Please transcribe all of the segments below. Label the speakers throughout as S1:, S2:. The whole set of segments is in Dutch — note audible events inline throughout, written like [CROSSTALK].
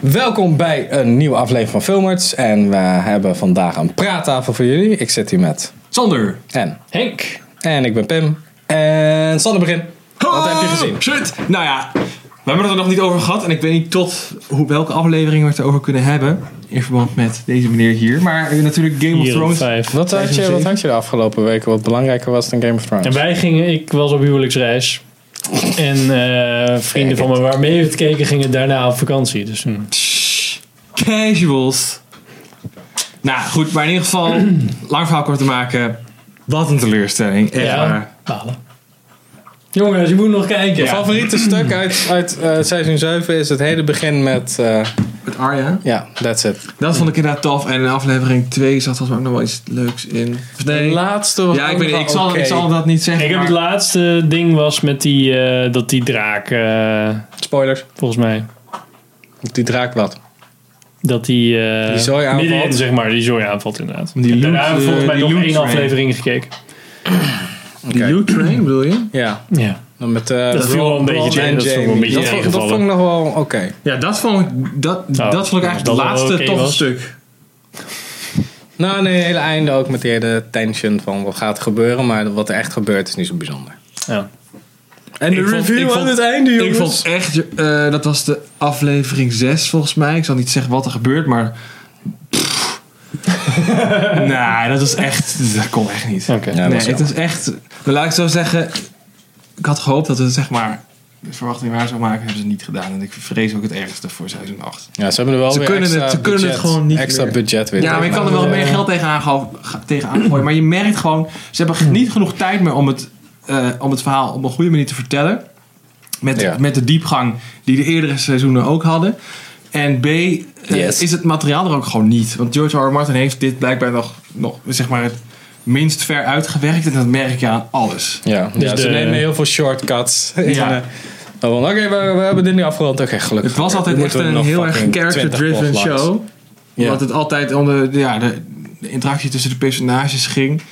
S1: Welkom bij een nieuwe aflevering van Filmerts. En we hebben vandaag een praattafel voor jullie. Ik zit hier met
S2: Sander.
S1: En.
S2: Henk.
S1: En ik ben Pim. En Sander begin. Wat heb je gezien?
S2: Oh, Shit. Nou ja, we hebben het er nog niet over gehad. En ik weet niet tot hoe, welke aflevering we het erover kunnen hebben. In verband met deze meneer hier. Maar eh, natuurlijk Game of
S3: Hier op
S2: Thrones.
S3: vijf.
S1: Wat had, je, wat had je de afgelopen weken wat belangrijker was dan Game of Thrones?
S3: En wij gingen, ik was op huwelijksreis. En eh, vrienden van me waarmee we het keken gingen daarna op vakantie. Dus hm.
S2: Tss, Casuals. Nou goed, maar in ieder [CLEARS THROAT] geval, lang verhaal kort te maken. Wat een teleurstelling. Echt waar.
S3: balen. Jongens, je moet nog kijken.
S1: Mijn favoriete stuk uit, uit eh, seizoen 7 is het hele begin met... eh,
S2: Met Arya.
S1: Ja, that's it.
S2: Dat vond ik inderdaad tof. En in aflevering 2 zat volgens mij ook nog wel iets leuks in. Of
S1: De
S2: nee.
S1: laatste was
S2: Ja, ik,
S1: ook
S2: weet,
S1: nog
S2: ik, zal,
S1: oké.
S2: ik zal dat niet zeggen.
S3: Ik heb het
S2: maar-
S3: laatste ding was met die, eh, dat die draak, eh,
S1: Spoilers.
S3: volgens mij,
S1: Die draak wat.
S3: dat die, eh,
S1: Die zooi aanvalt.
S3: middenin, zeg maar, die zooi aanvalt inderdaad.
S2: Die
S3: En
S2: loot,
S3: daarna heb ik volgens
S2: eh,
S3: mij
S2: die
S3: nog
S2: loot
S3: één
S2: train.
S3: aflevering gekeken.
S2: Die Loot Train bedoel je?
S1: Ja,
S3: Ja.
S1: dan met eh
S3: Dat viel wel een
S1: Ron
S3: beetje tegen,
S1: en
S3: dat vond ik wel een
S1: Jamie.
S3: beetje
S1: dat, vond, dat
S3: tegengevallen.
S1: vond ik nog wel oké.
S2: Ja, dat vond ik, dat, dat vond ik eigenlijk
S3: Oh, dat
S2: het
S3: wel
S2: laatste
S3: oké
S2: toffe
S3: was.
S2: stuk.
S1: Nou, nee, het hele einde ook met die hele tension van wat gaat er gebeuren, maar wat er echt gebeurt is niet zo bijzonder.
S3: ja.
S1: En
S2: Ik vond- ik vond-
S1: einde,
S2: Ik vond echt, eh, dat was de aflevering 6 volgens mij. Ik zal niet zeggen wat er gebeurt, maar... pff. [LAUGHS] nee, dat was echt, dat kon echt niet.
S3: Oké.
S1: Ja, dat
S2: nee,
S1: was
S2: het
S1: jammer.
S2: was echt, nou, laat ik zo zeggen, ik had gehoopt dat het zeg maar de verwachting waar zou maken, hebben ze niet gedaan. En ik vrees ook het ergste voor seizoen 8.
S1: Ja, ze hebben er wel
S2: Ze
S1: weer
S2: kunnen
S1: extra
S2: het- ze kunnen het
S1: budget-
S2: gewoon niet
S1: Extra
S2: meer.
S1: budget weer.
S2: Ja, maar ik kan er wel meer geld tegenaan, goo- ga- tegenaan gooien. Maar je merkt gewoon, ze hebben niet genoeg tijd meer om het, eh, om het verhaal op een goede manier te vertellen. Met,
S1: Ja.
S2: met de diepgang die de eerdere seizoenen ook hadden. En B, eh,
S1: Yes.
S2: is het materiaal er ook gewoon niet. Want George R. R. Martin heeft dit blijkbaar nog, nog zeg maar, het minst ver uitgewerkt. En dat merk je aan alles.
S1: Ja, ja,
S3: Dus
S1: ze
S3: de-
S1: nemen heel veel shortcuts. in,
S2: Ja.
S1: eh, van, Oké, we, we hebben dit nu afgerond. Oké, gelukkig.
S2: Het was altijd
S1: Nu
S2: echt
S1: moeten we
S2: een
S1: nog
S2: heel erg
S1: fucking 20
S2: character-driven
S1: plotlines.
S2: show.
S1: Ja.
S2: Omdat het altijd om de, de- ja, de, de interactie tussen de personages ging.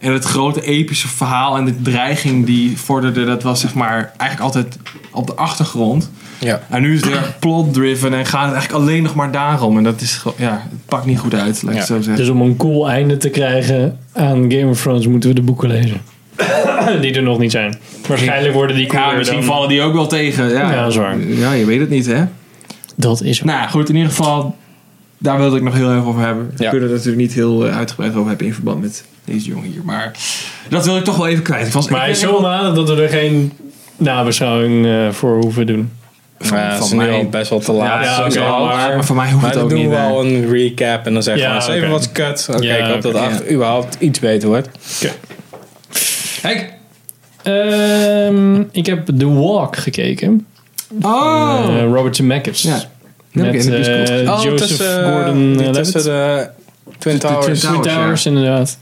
S2: En het grote epische verhaal en de dreiging die vorderde, dat was zeg maar eigenlijk altijd op de achtergrond.
S1: Ja.
S2: En nu is het heel erg plot-driven en gaat het eigenlijk alleen nog maar daarom. En dat is gewoon, ja, het pakt niet goed uit, laat ik het
S1: Ja.
S2: zo zeggen.
S3: Dus om een cool einde te krijgen aan Game of Thrones moeten we de boeken lezen. [COUGHS] die er nog niet zijn. Waarschijnlijk worden die
S2: ja,
S3: cooler
S2: misschien
S3: dan-
S2: vallen die ook wel tegen. Ja.
S3: Ja, dat is waar.
S2: Ja, je weet het niet, hè?
S3: Dat is
S2: Nou ja, goed, in ieder geval, daar wilde ik nog heel even over hebben. We
S1: Ja.
S2: kunnen het natuurlijk niet heel eh, uitgebreid over hebben in verband met deze jongen hier. Maar dat wil ik toch wel even kwijt. Ik was,
S3: Maar hij is zo maanden dat we er geen nabeschouwing eh, voor hoeven doen.
S1: Maar ja,
S2: Van
S1: het is nu
S2: mij-
S1: al best wel te laat.
S3: ja,
S1: Dus,
S3: oké,
S1: eh,
S3: maar-
S2: maar voor mij hoeft
S1: Maar
S2: het
S1: dan
S2: ook niet.
S1: doen we
S2: hè.
S1: al een recap en dan zeggen
S3: Ja,
S1: we eens even
S3: oké.
S1: wat kut. Oké,
S3: Ja,
S1: ik hoop dat
S3: oké.
S1: acht überhaupt iets beter wordt.
S2: Henk!
S3: Ehm, ik heb The Walk gekeken.
S2: Oh!
S3: Eh, Robert Zemeckis.
S2: Ja. Die heb ik
S3: Met
S2: in de bioscoop gezien.
S3: eh,
S1: Oh,
S3: Joseph
S1: tussen, eh,
S3: Gordon
S1: die
S3: uh,
S1: tussen
S3: Levitt.
S1: de Twin
S2: Twin
S1: Towers.
S2: Towers.
S3: Twin
S2: ja.
S3: Towers, inderdaad.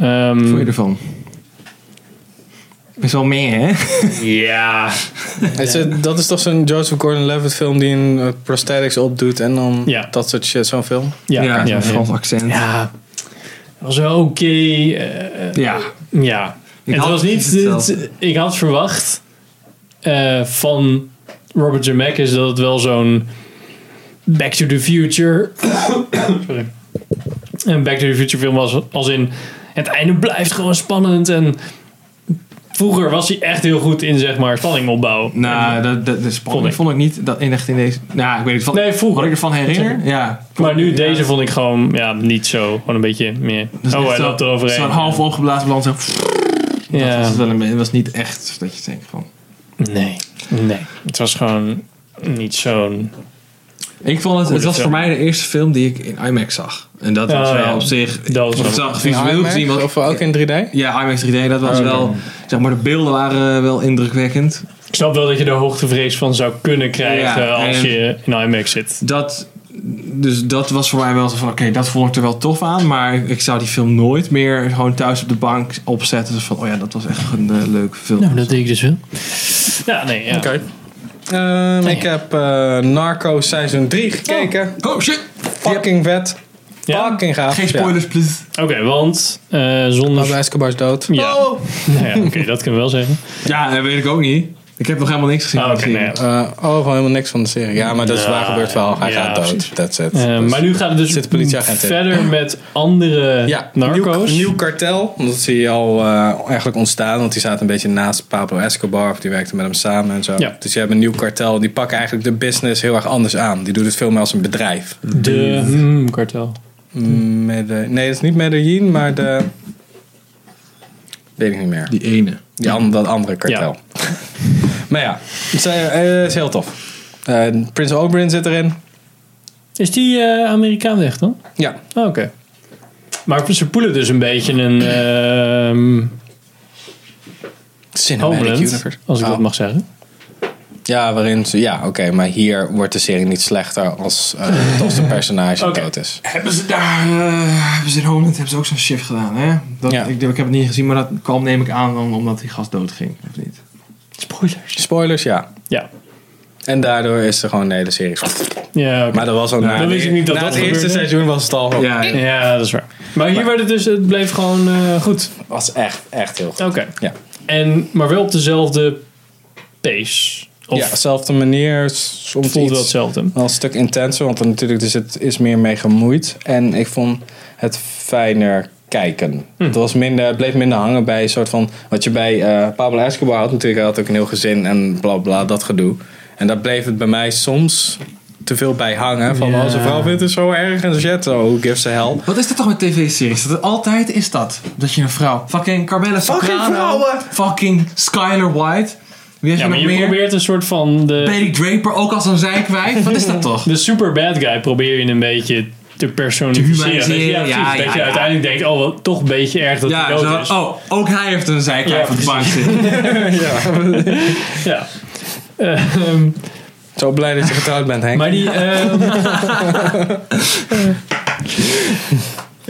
S3: Ehm,
S2: Wat vond je ervan? Best wel meer, hè?
S3: ja.
S1: Is het- dat is toch zo'n Joseph Gordon-Levitt film die een eh, prosthetics opdoet en dan
S3: Ja.
S1: dat soort shit, zo'n film?
S3: Ja, ja,
S2: zo'n
S3: ja.
S2: Frans accent. Ja.
S3: Ja. was wel oké. eh, Ja.
S2: Ik
S3: het
S2: had
S3: was
S2: precies
S3: niet. dit-
S2: hetzelfde.
S3: ik had verwacht eh, van Robert Zemeckis dat het wel zo'n Back to the Future. [COUGHS] sorry. Een Back to the Future film was. Als in. Het einde blijft gewoon spannend. En vroeger was hij echt heel goed in, zeg maar, spanning opbouwen.
S2: Nou, dat, dat, dat vond,
S3: Vond
S2: ik.
S3: ik.
S2: vond ik niet dat in echt in deze... Nou, ik weet niet van,
S3: Nee, vroeger.
S2: wat ik ervan herinner. Ja.
S3: Maar nu, deze vond ik gewoon ja, niet zo. Gewoon een beetje meer.
S2: Dat is
S3: oh,
S2: echt
S3: hij
S2: zo-
S3: loopt eroverheen.
S2: Zo'n half opgeblazen balans. zo- Dat
S3: ja.
S2: was wel een beetje- het was niet echt dat je denkt van.
S3: Nee. Nee. Het was gewoon niet zo'n.
S2: Ik vond het, het
S3: Goeie
S2: was voor
S3: film.
S2: mij de eerste film die ik in IMAX zag. En dat was
S3: Oh,
S2: wel
S3: ja.
S2: op zich.
S3: Dat was
S2: ik
S3: wel-
S2: zag
S1: In
S2: visueel
S1: IMAX
S2: gezien.
S1: of
S2: Was,
S1: ook in 3D?
S2: ja, IMAX 3D, dat was
S3: Oh,
S2: wel. Zeg maar, de beelden waren wel indrukwekkend.
S3: Ik snap wel dat je de hoogtevrees van zou kunnen krijgen
S2: Ja,
S3: als
S2: en-
S3: je in IMAX zit.
S2: Dat, dus dat was voor mij wel zo van: oké, dat vond ik er wel tof aan. Maar ik zou die film nooit meer gewoon thuis op de bank opzetten. Dus van: oh ja, dat was echt een eh, leuke film.
S3: deed ik dus wel. Ja, nee, ja.
S1: Oké. Ehm, Ik heb eh, Narco seizoen 3 gekeken.
S2: Oh shit!
S1: Fucking vet.
S3: Ja?
S1: Fucking gaaf.
S2: Geen spoilers, please.
S3: Oké, want eh, zonder...
S1: Pablo Escobar is dood.
S3: [LAUGHS] Ja,
S2: Oh.
S3: Nou ja, oké, dat kunnen we wel zeggen.
S2: Ja, dat weet ik ook niet. Ik heb nog helemaal niks gezien
S3: Ah,
S2: van de
S3: oké,
S2: serie.
S3: nee.
S1: Eh, oh, gewoon helemaal niks van de serie. Ja, maar dat is
S3: Ja,
S1: waar gebeurd wel. Hij
S3: ja,
S1: gaat dood.
S3: precies.
S1: That's it.
S3: Eh,
S1: Dus-
S3: maar nu gaat het dus
S1: zit de politieagent in.
S3: verder met andere
S1: ja,
S3: narco's.
S1: Nieuw, nieuw kartel. Dat zie je al eh, eigenlijk ontstaan. Want die zaten een beetje naast Pablo Escobar. Of die werkte met hem samen en zo.
S3: Ja.
S1: Dus je hebt een nieuw kartel. Die pakken eigenlijk de business heel erg anders aan. Die doet het veel meer als een bedrijf.
S3: de hmm, kartel.
S1: Mm, Mede- nee, dat is niet Medellin, maar de... Weet ik niet meer.
S2: Die ene.
S1: Die an- dat andere kartel. [LAUGHS] maar ja, het is, eh, eh, is heel tof. Eh, Prins Oberyn zit erin.
S3: Is die eh Amerikaan echt dan?
S1: Ja,
S3: Ah, Oké. Maar ze poelen dus een beetje een ehm
S1: Cinematic
S3: Homeland,
S1: Universe.
S3: als ik
S1: Oh.
S3: dat mag zeggen.
S1: Ja, waarin ze, ja, oké, maar hier wordt de serie niet slechter als eh, het
S3: [LAUGHS]
S1: als de personage
S3: Oké.
S1: dood is.
S2: Hebben ze daar, eh, hebben ze in Holland hebben ze ook zo'n shift gedaan, hè? Dat,
S1: Ja.
S2: ik, ik heb het niet gezien, maar dat kwam neem ik aan dan omdat die gast doodging, of niet?
S3: Spoilers.
S1: Spoilers, ja.
S3: Ja.
S1: En daardoor is er gewoon de hele serie.
S3: Ja, oké.
S1: Maar dat was ook na,
S3: dan
S1: de-
S3: wist ik niet dat
S1: na
S3: dat
S1: het eerste
S3: gebeurde.
S1: seizoen was het al.
S3: Oh.
S1: goed.
S2: Ja, ja.
S3: ja, dat is waar. Maar hier werd het dus, het bleef gewoon eh, goed.
S1: Was echt, echt heel goed.
S3: Oké.
S1: Ja.
S3: En, maar wel op dezelfde pace. Of
S1: ja, dezelfde manier. Soms
S3: voelde dat
S1: iets
S3: hetzelfde?
S1: wel een stuk intenser, want er natuurlijk dus het is meer mee gemoeid. En ik vond het fijner kijken.
S3: Hm.
S1: Het was minder, het bleef minder hangen bij een soort van wat je bij eh, Pablo Escobar had natuurlijk. Hij had ook een heel gezin en bla bla dat gedoe. En daar bleef het bij mij soms te veel bij hangen. Van
S3: Ja.
S1: oh, zijn vrouw vindt het zo erg en zo shit. Oh, who gives a hell.
S2: Wat is dat toch met tv-series? Dat het altijd is dat. Dat je een vrouw... Fucking Carmella
S1: Fucking
S2: Soprano.
S1: vrouwen!
S2: Fucking Skyler White. Wie heeft
S3: Ja,
S2: er
S3: maar
S2: nog
S3: je
S2: meer?
S3: probeert een soort van de,
S2: Betty Draper, ook als een zijkwijf. Wat is dat
S3: [LAUGHS]
S2: toch?
S3: de super bad guy probeer je een beetje te
S2: Te
S3: personificeren. Dat je-
S2: humaniseren,
S3: precies,
S2: ja,
S3: dat
S2: ja,
S3: je
S2: ja.
S3: uiteindelijk denkt, oh, wel, toch een beetje erg dat hij
S2: Ja,
S3: dood
S2: zo-
S3: is.
S2: oh, ook hij heeft een
S3: Ja,
S2: zijkwijf op de bank zitten.
S3: Ja. Ehm,
S1: Zo blij dat je getrouwd bent, Henk.
S3: maar die... ehm,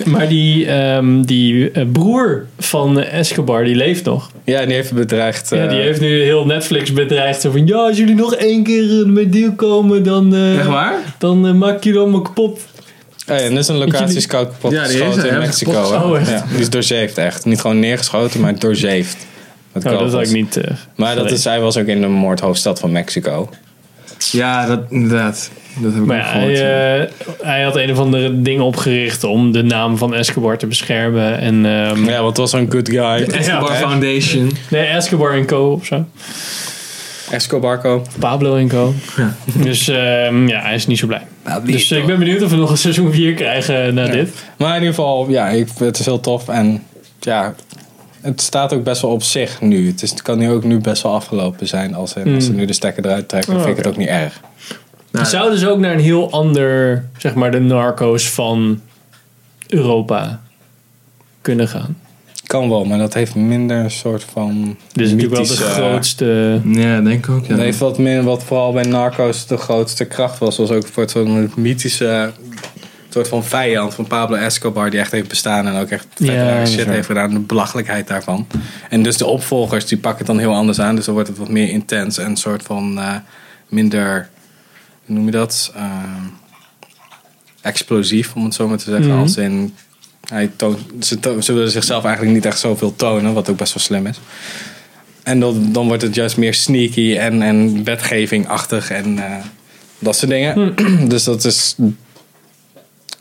S2: [LAUGHS]
S3: maar die, ehm, die eh, broer van eh, Escobar, die leeft nog.
S1: ja, en die heeft bedreigd.
S3: Ja, die
S1: eh,
S3: heeft nu heel Netflix bedreigd. Zo van, ja, als jullie nog één keer eh, met deal komen, dan, eh,
S2: Echt waar?
S3: dan eh, maak ik jullie allemaal kapot.
S1: Oh ja, en dit is een locatie scout kapot
S2: Ja, die is
S1: geschoten
S2: er,
S1: in
S2: hè?
S1: Mexico.
S2: Kapot
S1: hè?
S3: geschoten.
S1: Ja,
S3: Oh,
S1: die is doorzeefd echt. Niet gewoon neergeschoten, maar doorzeefd. Met
S3: Nou, dat
S1: kogels.
S3: had ik niet... eh,
S1: Maar dat
S3: gelezen.
S1: is, hij was ook in de moordhoofdstad van Mexico.
S2: Ja, dat, inderdaad. Dat heb ik
S3: Maar
S2: ook
S3: ja, hij,
S2: gehoord. ja.
S3: eh, hij had een of andere ding opgericht om de naam van Escobar te beschermen. En, ehm,
S1: Ja, want het was een good guy.
S2: Escobar
S3: ja.
S2: Foundation.
S3: Nee, Escobar en Co. of zo.
S1: Escobarco.
S3: Pablo en Co. Dus ehm, ja, hij is niet zo blij. Dus eh, ik ben benieuwd of we nog een seizoen 4 krijgen na dit.
S1: Maar in ieder geval, ja, ik, het is heel tof. En ja, het staat ook best wel op zich nu. Het, is, het kan nu ook nu best wel afgelopen zijn. Als, in- als ze nu de stekker eruit trekken,
S3: Hmm. Oh,
S1: vind ik
S3: oké.
S1: het ook niet erg.
S2: Nou,
S3: Zouden ze ook naar een heel ander, zeg maar, de narco's van Europa kunnen gaan?
S1: Kan wel, maar dat heeft minder een soort van...
S3: Dit is natuurlijk wel de
S1: mythische- eh,
S3: grootste...
S2: Ja, denk ik ook. Ja.
S1: Dat heeft wat min, wat vooral bij Narcos de grootste kracht was. Was ook voor het zo'n mythische soort van vijand van Pablo Escobar. Die echt heeft bestaan en ook echt vet
S3: Ja,
S1: erg
S3: dat is
S1: shit
S3: waar.
S1: heeft gedaan. De belachelijkheid daarvan. En dus de opvolgers die pakken het dan heel anders aan. Dus dan wordt het wat meer intens en een soort van eh, minder, hoe noem je dat? Ehm, explosief om het zo maar te zeggen.
S3: Mhm.
S1: Als in... Hij toont, ze, to- ze willen zichzelf eigenlijk niet echt zoveel tonen, wat ook best wel slim is. En dan, dan wordt het juist meer sneaky en, en wetgevingachtig en eh, dat soort dingen. [CLEARS THROAT] Dus dat is.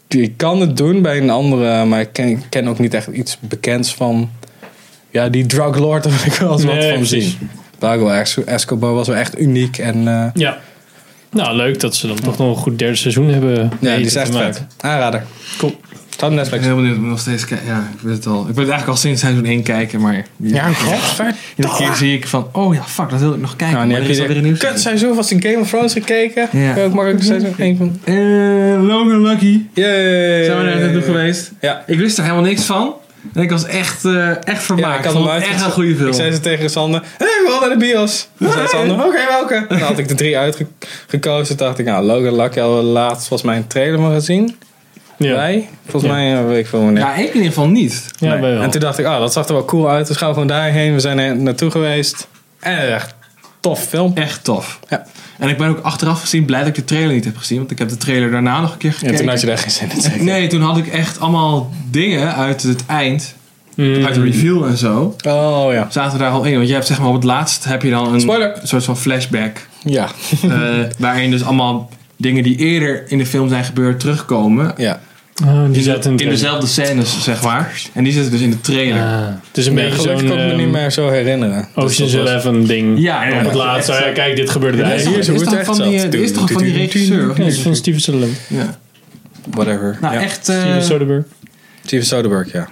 S1: Je kan het doen bij een andere, maar ik ken, ik ken ook niet echt iets bekends van. Ja, die drug lord, [LAUGHS] daar wil ik wel eens
S3: Nee,
S1: wat van
S3: precies.
S1: zien. Pablo Esc- Escobar was wel echt uniek en. eh,
S3: Ja. Nou, leuk dat ze dan toch nog een goed derde seizoen hebben
S1: ja,
S3: weten
S1: die is
S3: te
S1: echt
S3: maken.
S1: vet. Aanrader.
S3: Cool.
S1: Staat op
S2: Ik
S1: Netflix.
S2: ben heel benieuwd, ik wil nog steeds kijken. Ja, ik weet het al. Ik wil het eigenlijk al sinds seizoen 1 kijken, maar...
S1: Ja, godver.
S2: Iedere keer zie ik van, oh ja, fuck, dat wil ik nog kijken.
S1: Nou, nu
S2: maar
S1: heb je
S2: er is alweer een nieuw
S1: weer kut seizoen vast in Game of Thrones gekeken.
S2: Ja.
S1: Ja. Ook makkelijk seizoen één van.
S2: seizoen. Eh, Logan Lucky.
S1: Yay.
S2: Zijn we daar naartoe geweest?
S1: Ja.
S2: Ik wist er helemaal niks van. En ik was echt, eh, echt vermaakt.
S1: Ja, ik
S2: ik
S1: had
S2: vond
S1: hem
S2: het
S1: uit-
S2: echt een goede film.
S1: Ik zei ze tegen Sander, hé, hey, we gaan naar de bios. Toen zei Sander, oké, welke? Dan had ik de drie uitgekozen. Toen dacht ik, nou, Logan Lucky hadden we laatst volgens mij een trailer maar gezien.
S3: Ja.
S1: Wij? Volgens
S3: Ja.
S1: mij, eh, weet ik veel wanneer.
S2: ja, ik in ieder geval niet.
S3: Ja,
S1: Nee.
S3: wij wel.
S1: En toen dacht ik, oh, dat zag er wel cool uit. Dus gaan we gewoon daarheen. We zijn er naartoe geweest. En het is echt tof film.
S2: Echt tof.
S1: Ja.
S2: En ik ben ook achteraf gezien blij dat ik de trailer niet heb gezien. Want ik heb de trailer daarna nog een keer
S1: En
S2: gekeken.
S1: toen had je daar geen zin in. zeker?
S2: Nee, toen had ik echt allemaal dingen uit het eind.
S3: Mm.
S2: uit
S1: Mm.
S2: de review en zo,
S1: Oh ja.
S2: zaten we daar al in. Want je hebt zeg maar op het laatst heb je dan een
S1: Spoiler.
S2: soort van flashback.
S1: Ja. [LAUGHS]
S2: eh, waarin dus allemaal dingen die eerder in de film zijn gebeurd terugkomen.
S1: ja.
S3: Oh, die
S2: In,
S3: zat
S2: de- in dezelfde scènes, zeg maar. En die zitten dus in de trailer.
S1: Eh,
S3: Ah, het is een
S1: ja
S3: beetje
S1: gelukkig
S3: zo'n
S1: kan ik me niet
S3: ehm,
S1: meer zo herinneren.
S3: Ocean's
S1: Dus dat was-
S3: Eleven ding.
S2: Ja, ja,
S3: Op het
S2: ja.
S3: laatste.
S2: Echt zo.
S3: ja, kijk, dit gebeurde er
S1: Ja,
S3: eigenlijk.
S1: eh, hier is
S2: Is
S1: hoe
S2: toch
S1: het echt
S2: van die,
S1: zat.
S2: eh, is toch van die regisseur, of
S3: Ja,
S2: niet?
S3: het is van Steven Soderbergh.
S2: Ja.
S1: Whatever.
S2: Nou,
S1: ja.
S2: echt, eh,
S3: Steven Soderbergh.
S1: Steven Soderbergh, ja.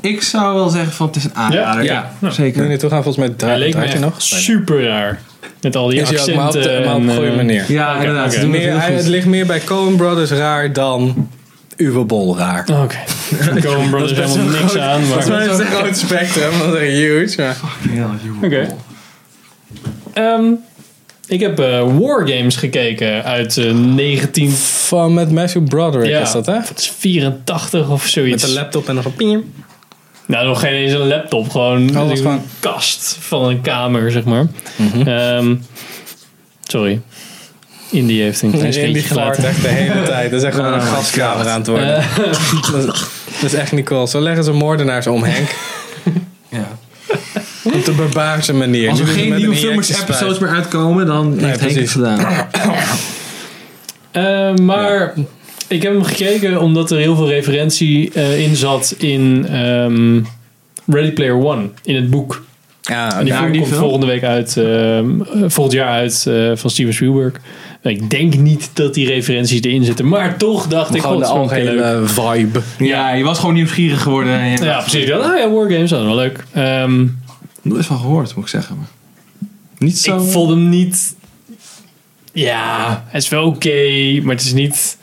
S2: ik zou wel zeggen van het is een aanrader.
S1: Ja?
S3: Ja.
S1: Nu
S2: zeker.
S1: je naartoe gaan, volgens mij
S3: Hij
S1: dra-
S3: leek me
S1: draait hij
S3: echt
S1: nog.
S3: super raar. Met al die
S1: Is hij ook,
S3: accenten.
S1: maar op, de, maar op
S3: en,
S1: een goede
S3: eh,
S1: manier.
S2: Ja,
S3: Oké,
S2: inderdaad.
S3: oké.
S2: Ze doen het
S1: Meer-
S2: heel
S1: hij-
S2: goed.
S1: het ligt meer bij Coen Brothers raar dan Uwe Bol raar.
S3: Oh, Oké.
S1: [LAUGHS]
S3: Coen Brothers
S1: best
S3: helemaal
S1: wel
S3: niks
S1: groot.
S3: aan. Maar...
S1: Dat is wel een groot spectrum, dat is huge. maar-
S2: Ja, joh.
S3: Oké. Ehm, ik heb eh Wargames gekeken uit eh, 19...
S1: Van met Matthew Broderick
S3: Ja,
S1: is dat, hè?
S3: Het is 84 of
S1: Met
S3: zoiets.
S1: een laptop en nog een piem.
S3: Nou, nog geen eens een laptop. Gewoon
S1: dat
S3: een
S1: is Oh, gewoon- Mhm.
S3: kast van een kamer, zeg maar. Ehm, sorry. Indie heeft een klein
S1: In die
S3: scheetje
S1: vaart
S3: gelaten.
S1: echt de hele [LAUGHS] tijd. Dat is echt gewoon een
S2: Oh my
S1: gaskamer
S2: God.
S1: aan het worden. [LAUGHS] dat, is, dat is echt niet cool. Zo leggen ze moordenaars om, Henk.
S2: Ja.
S1: Op de barbaarse manier.
S2: Als er
S1: Nu doen ze
S2: geen
S1: met
S2: nieuwe
S1: een
S2: filmers
S1: injectiespuit.
S2: episodes meer uitkomen, dan heeft Henk het
S1: precies.
S2: gedaan.
S3: Eh, maar ik heb hem gekeken omdat er heel veel referentie eh, in zat in ehm, Ready Player One. In het boek.
S1: Ja,
S3: En die
S1: ja,
S3: film
S2: die
S3: komt
S2: film?
S3: volgende week uit, ehm, eh, volgend jaar uit eh, van Steven Spielberg. Nou, Ik denk niet dat die referenties erin zitten, maar toch dacht ik
S1: gewoon de
S3: god, dat is wel een keer leuk.
S1: algehele vibe.
S2: Ja, je was gewoon nieuwsgierig geworden. En je
S3: Ja,
S2: dacht,
S3: precies. Ik dacht, ah ja, Wargames, dat is wel leuk. Ehm,
S2: Nooit van gehoord, moet ik zeggen. Maar niet zo.
S3: Ik vond hem niet. Ja, het is wel oké, maar het is niet.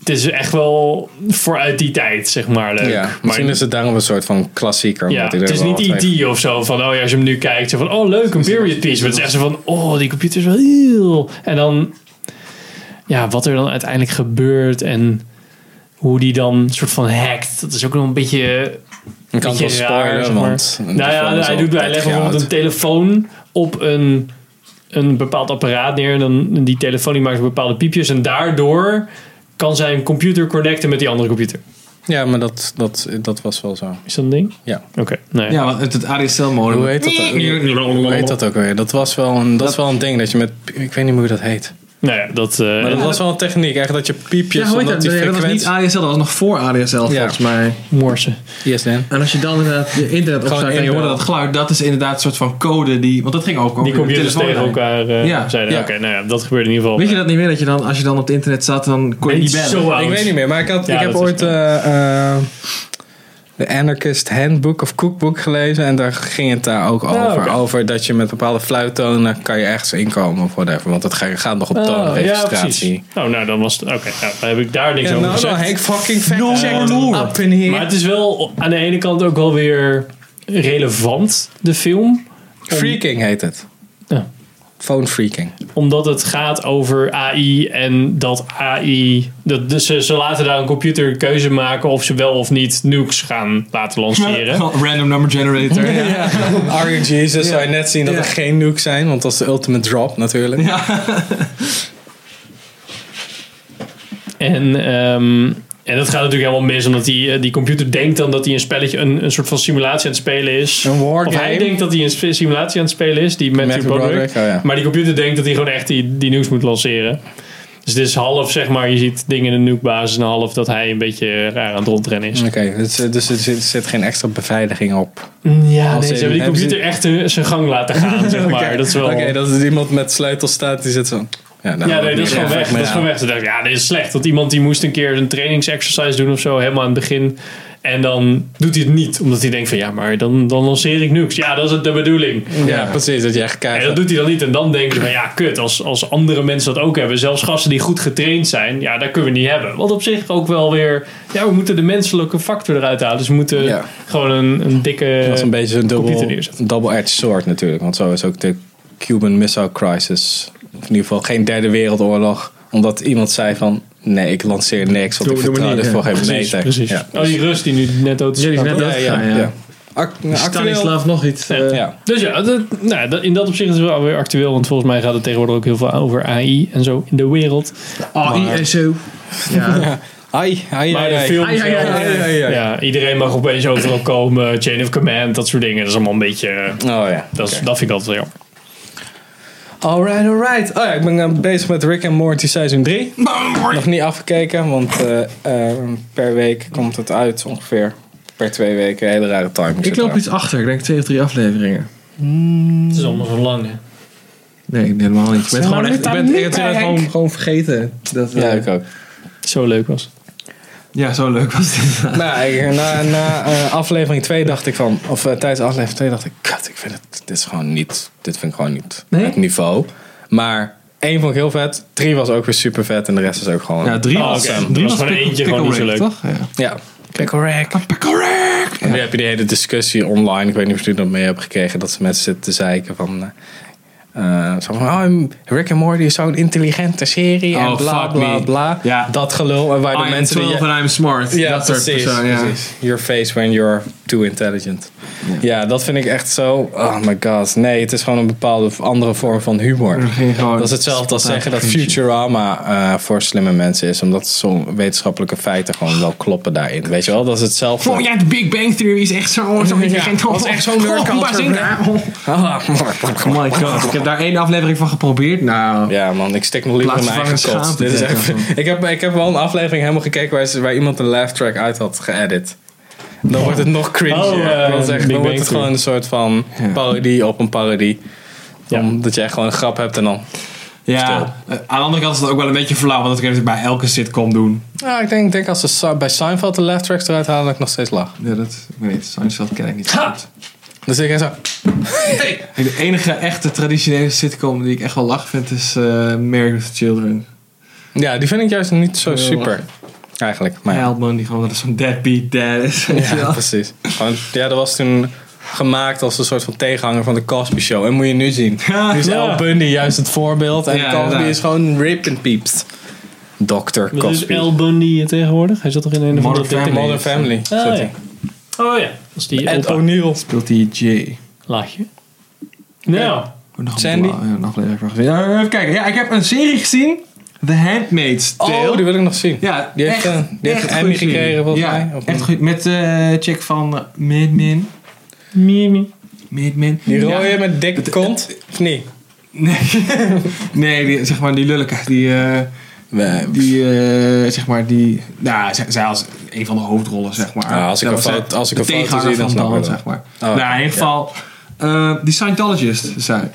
S3: Het is echt wel vooruit die tijd, zeg maar. Leuk.
S1: Ja,
S3: maar
S1: misschien is het daarom een soort van klassieker.
S3: ja,
S1: omdat hij er
S3: het is
S1: wel
S3: niet
S1: wat mee-
S3: E.T. of zo. Van, oh ja, als je hem nu kijkt, zo van, oh leuk, een period piece. Maar het is echt zo van, oh, die computer is wel heel... En dan, ja, wat er dan uiteindelijk gebeurt en hoe die dan soort van hackt. Dat is ook nog een beetje
S1: Ik kan het wel
S3: beetje raar,
S1: spoilen,
S3: zeg maar.
S1: want...
S3: nou ja, hij, doet, hij legt bijvoorbeeld een telefoon op een, een bepaald apparaat neer. En dan, die telefoon die maakt bepaalde piepjes. En daardoor kan zijn computer connecten met die andere computer.
S1: Ja, maar dat, dat, dat was wel zo.
S3: Is dat een ding?
S1: Ja.
S3: Oké. nou nee.
S2: Ja, want het, het ADSL-modem.
S1: Hoe heet dat ook? Hoe heet dat ook weer? Dat was wel een, dat is wel een ding dat je met... Ik weet niet meer hoe dat heet.
S3: Nou ja, dat... eh,
S1: Maar dat was wel een techniek. Echt dat je piepjes...
S2: Ja, hoe heet
S1: omdat die
S2: dat? Nee, dat was
S1: frequent...
S2: niet ADSL, dat was nog voor ADSL volgens mij.
S3: Morse.
S1: ISDN.
S2: En als je dan inderdaad je internet opstart en je hoorde
S1: inbellen.
S2: dat geluid, dat is inderdaad een soort van code die... Want dat ging ook over
S3: Die
S2: de
S3: computers
S2: telefoon
S3: tegen
S2: heen.
S3: elkaar eh,
S2: Ja,
S3: zeiden,
S1: ja.
S3: oké, nou ja, dat gebeurde in ieder geval.
S2: Weet je dat niet meer? Dat je dan, als je dan op het internet zat, dan kon je
S3: Nee,
S2: niet bellen.
S3: zo oud.
S1: Ik weet niet meer, maar ik, had,
S3: Ja,
S1: ik heb
S3: dat is
S1: ooit eh, eh, de Anarchist Handbook of Cookbook gelezen. En daar ging het daar ook over.
S3: Oh, oké.
S1: Over dat je met bepaalde fluittonen kan je ergens inkomen of whatever. Want dat ga- gaat nog op
S3: Oh, ja,
S1: toonregistratie.
S3: precies. dus Oh, nou, dan was het... Oké, nou, dan heb ik daar niks
S1: Ja,
S3: over
S1: nou dan
S3: gezegd.
S1: Henk fucking fact
S2: No
S1: checked
S2: more.
S1: up in here.
S3: Maar het is wel aan de ene kant ook wel weer relevant, de film.
S1: Freaking heet het.
S3: Ja.
S1: Phone freaking.
S3: Omdat het gaat over AI en dat AI. Dat, dus ze, ze laten daar een computer een keuze maken of ze wel of niet nukes gaan laten lanceren.
S2: Gewoon Random number generator. Ja.
S1: Are you Jesus? Zou je net zien dat
S2: Ja.
S1: er geen nuke zijn? Want dat is de ultimate drop natuurlijk.
S3: En, ehm, en dat gaat natuurlijk helemaal mis, omdat die, eh, die computer denkt dan dat hij een spelletje, een, een soort van simulatie aan het spelen is.
S1: Een wargame.
S3: Of hij denkt dat hij een sp- simulatie aan het spelen is, die Matthew,
S1: Matthew
S3: Broderick.
S1: Broderick, oh ja.
S3: Maar die computer denkt dat hij gewoon echt die, die nukes moet lanceren. Dus het is half, zeg maar, je ziet dingen in de nukebasis en half dat hij een beetje raar aan het rondrennen is.
S1: Oké, dus, dus er zit, zit geen extra beveiliging op.
S3: Ja, nee,
S1: Mm. Als
S3: ze
S1: in-
S3: hebben die
S1: hebben ze-
S3: computer echt eh, zijn gang laten
S1: [LAUGHS]
S3: gaan, zeg maar. Dat is wel...
S1: Oké, dat is iemand met sleutel staat die zit zo. Ja, nou,
S3: ja, nee, dat is gewoon weg. Dat is gewoon weg. Toen dacht ik, ja, dit is slecht. Want iemand die moest een keer een trainingsexercise doen of zo, helemaal aan het begin. En dan doet hij het niet, omdat hij denkt van, ja, maar dan, dan lanceer ik niks. Ja, dat is de bedoeling.
S1: Ja, precies, dat je echt kijkt.
S3: En dat doet hij dan niet. En dan denken ze van, ja, kut, als, als andere mensen dat ook hebben. Zelfs gasten die goed getraind zijn, ja, dat kunnen we niet hebben. Wat op zich ook wel weer, ja, we moeten de menselijke factor eruit halen. Dus we moeten
S1: Ja.
S3: gewoon een, een dikke...
S1: dat is een beetje een
S3: computer
S1: double-
S3: neerzetten.
S1: double-edged sword natuurlijk. Want zo is ook de Cuban Missile Crisis. Of in ieder geval geen derde wereldoorlog. Omdat iemand zei van, nee, ik lanceer niks. Want
S2: Doe-
S1: ik
S2: doe
S1: vertrouw
S2: maar niet,
S1: dit
S2: ja.
S1: voor geen
S3: Precies,
S1: meter.
S3: precies.
S1: Ja.
S3: Oh, die Rus die nu net Ah, dood is.
S2: Ja, die is
S3: gegaan.
S1: Ja,
S2: net
S1: ja,
S2: Ja, ja.
S1: ja. Ac- Actueel.
S2: Stanislav nog iets. eh,
S1: Ja.
S3: Dus ja, dat, nou, dat- in dat opzicht is het wel weer actueel. Want volgens mij gaat het tegenwoordig ook heel veel over AI en zo in de wereld.
S2: AI en zo. Ja.
S1: Ja. Ai, ai,
S3: Maar
S1: ai,
S3: de
S1: ai.
S3: film
S4: Ai, ai,
S3: zelf-
S4: ai,
S1: ai, ai, ai.
S3: Ja, iedereen mag opeens overal komen. Chain of command, dat soort dingen. Dat is allemaal een beetje... eh,
S1: Oh ja.
S3: dat, is, dat vind ik altijd wel jammer.
S1: Alright, alright. Oh ja, ik ben eh, bezig met Rick and Morty seizoen 3. Nog niet afgekeken, want eh, eh, per week komt het uit ongeveer. Per twee weken, hele rare timing.
S2: Ik loop iets achter. Ik denk twee of drie afleveringen.
S3: Het is allemaal zo lang, hè.
S2: Nee, helemaal niet. Ik ben
S1: Zeg maar
S2: gewoon echt...
S1: niet
S2: Ik
S1: aan
S2: ben, ik
S1: niet,
S2: ben
S1: Henk.
S2: gewoon, gewoon vergeten. Dat, eh,
S1: Ja, ik ook.
S3: Zo leuk was.
S2: ja, zo leuk was dit.
S1: Nou, ik- na, na eh, aflevering 2 dacht ik van, of eh, tijdens aflevering 2 dacht ik, kat, ik vind het, dit is gewoon niet, dit vind ik gewoon niet
S3: Nee?
S1: het niveau. Maar één vond ik heel vet, drie was ook weer super vet en de rest is ook gewoon.
S2: [LAUGHS] Ja, drie
S3: Oh,
S2: was...
S3: oké.
S2: Drie
S3: Dat
S2: was
S3: was maar
S2: pick-
S3: eentje
S2: pick
S3: gewoon niet zo
S2: away,
S3: leuk.
S2: Toch? Ja.
S1: ja. Pickle Rick.
S2: Pickle Rick!
S1: En nu heb je die hele discussie online. Ik weet niet of jullie dat mee hebben gekregen. Dat ze mensen zitten te zeiken van... eh, eh, zo van oh, Rick and Morty is zo'n intelligente serie.
S2: Oh,
S1: en bla
S2: fuck
S1: bla
S2: me.
S1: bla.
S2: Ah, Ja.
S1: Dat gelul. En waar de
S2: I'm
S1: mensen... die-
S2: 12 and I'm smart.
S1: ja,
S2: dat soort
S1: precies,
S2: persoon, ja.
S1: precies. Your face when you're too intelligent. Ja. dat vind ik echt zo... Oh my god. Nee, het is gewoon een bepaalde andere vorm van humor.
S2: Er ging gewoon
S1: Dat is hetzelfde als
S2: spontaan
S1: zeggen dat
S2: geintje.
S1: Futurama eh, voor slimme mensen is. Omdat zo'n wetenschappelijke feiten gewoon wel kloppen daarin. Weet je wel, dat is hetzelfde.
S2: Oh ja, de Big Bang Theory is echt zo, zo intelligent.
S1: dat is echt zo'n nerd
S2: Oh,
S1: culture,
S2: Bazinga.
S1: Ah,
S2: Oh my god, ik heb daar één aflevering van geprobeerd. Nou,
S1: Ja man, ik stik nog liever in mijn eigen
S2: Plaatsvervangend
S1: kot. Dit is echt,
S2: schaamte,
S1: ik, heb, ik heb wel een aflevering helemaal gekeken waar, ze- waar iemand een laugh track uit had geëdit. Dan wordt het nog cringe.
S3: Oh, eh,
S1: dan
S3: Big
S1: dan
S3: Bang
S1: wordt het
S3: Theory.
S1: gewoon een soort van
S2: Ja.
S1: parodie op een parodie.
S3: Ja.
S1: Omdat je echt gewoon een grap hebt en dan...
S2: ja. Eh, aan de andere kant is dat ook wel een beetje flauw, want dat kunnen ze bij elke sitcom doen.
S1: Nou, ik denk, ik denk als ze Sa- bij Seinfeld de laugh tracks eruit halen, dat ik nog steeds lach.
S2: Ja, dat weet ik. Seinfeld ken ik niet zo goed.
S1: Dus ik zo...
S2: De enige echte traditionele sitcom die ik echt wel lach vind is eh Married with Children.
S1: Ja, die vind ik juist niet zo
S2: Heel
S1: super. Eigenlijk, maar ja.
S2: Heldman, die gewoon dat is zo'n deadbeat dad is. weet je
S1: Ja,
S2: wel.
S1: precies. Gewoon, ja, dat was toen gemaakt als een soort van tegenhanger van de Cosby Show. En moet je nu zien. Nu is
S3: Ja.
S1: El Bundy juist het voorbeeld. En
S2: Ja,
S1: Cosby
S2: inderdaad.
S1: is gewoon rip and peeps. Dr.
S3: Wat is
S1: Cosby.
S3: El Bundy tegenwoordig? Hij zat toch in een of
S2: Modern
S3: andere
S2: Family.
S1: Modern Family.
S3: Ah,
S1: zat
S3: ja.
S1: hij.
S3: Oh ja, dat is die
S1: Ed
S3: opa.
S1: O'Neill.
S2: Speelt die Jay.
S3: Laagje. Nou,
S2: Oh, nog een
S1: Sandy?
S2: bla- ja, Een aflevering van gezien. Ja, even kijken. Ja, ik heb een serie gezien. The Handmaid's Tale.
S1: Oh, die wil ik nog zien.
S2: ja,
S1: die heeft,
S2: echt,
S1: eh, die heeft
S2: echt
S1: een
S2: goede
S1: Emmy
S2: serie.
S1: gekregen, volgens
S2: ja,
S1: mij. Of
S2: echt
S1: een-
S2: goed. Met eh chick van eh, Mad Men.
S3: Mimi.
S2: Mad Men.
S1: Die
S2: Ja.
S1: rode met dikke kont? Of niet?
S2: Nee, nee die, zeg maar die lullijke. Die, eh, die eh, zeg maar, die... Nou, zij, zij als een van de hoofdrollen, zeg maar.
S1: Nou, als ik
S2: Dat
S1: een
S2: was
S1: foto-
S2: zij
S1: als ik
S2: de
S1: een foto
S2: tegenhanger
S1: zie, dan
S2: van
S1: snap ik
S2: Dan,
S1: het
S2: zeg maar.
S1: Oh,
S2: nou, in ieder geval... eh, die Scientologist, is zij.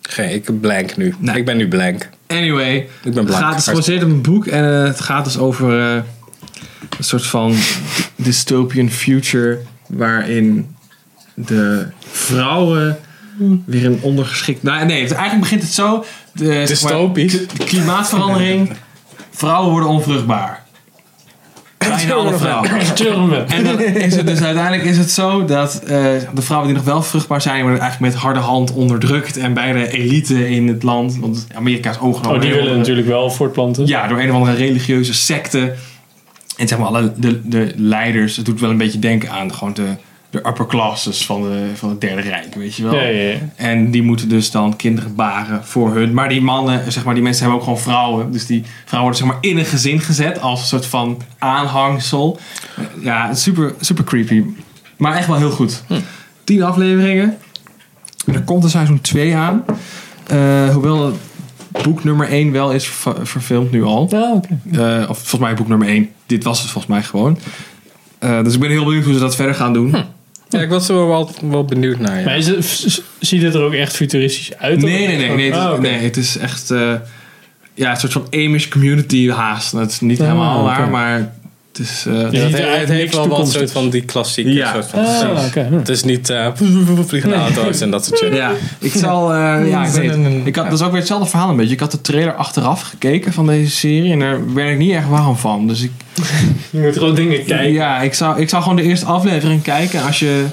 S1: Geen, ik ben blank nu.
S2: Nee.
S1: Ik ben nu blank.
S2: Anyway,
S1: Ik ben
S2: het
S1: blank.
S2: gaat dus gebaseerd op een boek en eh, het gaat dus over eh, een soort van dystopian future waarin de vrouwen weer een ondergeschikt. Nou, nee, het- eigenlijk begint het zo. De, zeg maar,
S1: Dystopisch?
S2: de klimaatverandering. Vrouwen worden
S1: [LAUGHS]
S2: onvruchtbaar. Bijna alle vrouwen.
S3: Children.
S2: En dan is het dus uiteindelijk is het zo dat eh, de vrouwen die nog wel vruchtbaar zijn, worden eigenlijk met harde hand onderdrukt. En bij de elite in het land, want Amerika is overal.
S3: Oh, die willen natuurlijk wel voortplanten.
S2: Ja, door een of andere religieuze secte. En zeg maar, alle de, de leiders, het doet wel een beetje denken aan gewoon de, de upper classes van, de, van het Derde Rijk, weet je wel.
S3: Ja, ja, ja.
S2: En die moeten dus dan kinderen baren voor hun. Maar die mannen, zeg maar, die mensen hebben ook gewoon vrouwen. Dus die vrouwen worden zeg maar in een gezin gezet als een soort van aanhangsel. Ja, super, super creepy. Maar echt wel heel goed. Tien afleveringen. En er komt er seizoen 2 aan. Eh, hoewel boek nummer 1 wel is ver- verfilmd nu al.
S3: Ah, oké.
S2: Eh, of volgens mij boek nummer 1. Dit was het volgens mij gewoon. Eh, dus ik ben heel benieuwd hoe ze dat verder gaan doen.
S1: Ja, ik was er wel, wel benieuwd naar.
S3: Maar
S1: Ja.
S3: is het, s- ziet het er ook echt futuristisch uit?
S2: Nee, nee, nee. nee, het, is-
S3: Ah, oké.
S2: nee het is echt eh, ja, een soort van Amish community haast. Het is niet
S3: Ah,
S2: helemaal
S3: oké.
S2: waar, maar het is... eh,
S3: Ja.
S2: ja.
S1: Het,
S3: ziet er
S1: he- het
S3: eigenlijk
S1: heeft
S3: niks
S1: wel wat
S3: toekomstig.
S1: soort van die klassieke
S2: Ja.
S1: soort van
S3: Ah, oké.
S1: Het is niet eh, [LAUGHS] vliegende
S3: Nee.
S1: auto's en dat soort shit.
S2: ik
S3: [LAUGHS]
S2: zal... eh, ja, ik weet het. Ik had,
S1: Ja.
S2: dat is ook weer hetzelfde verhaal een beetje. Ik had de trailer achteraf gekeken van deze serie en daar werd ik niet echt warm van. Dus ik,
S3: Je moet gewoon dingen kijken.
S2: ja, ik zou, ik zou gewoon de eerste aflevering kijken. Als je,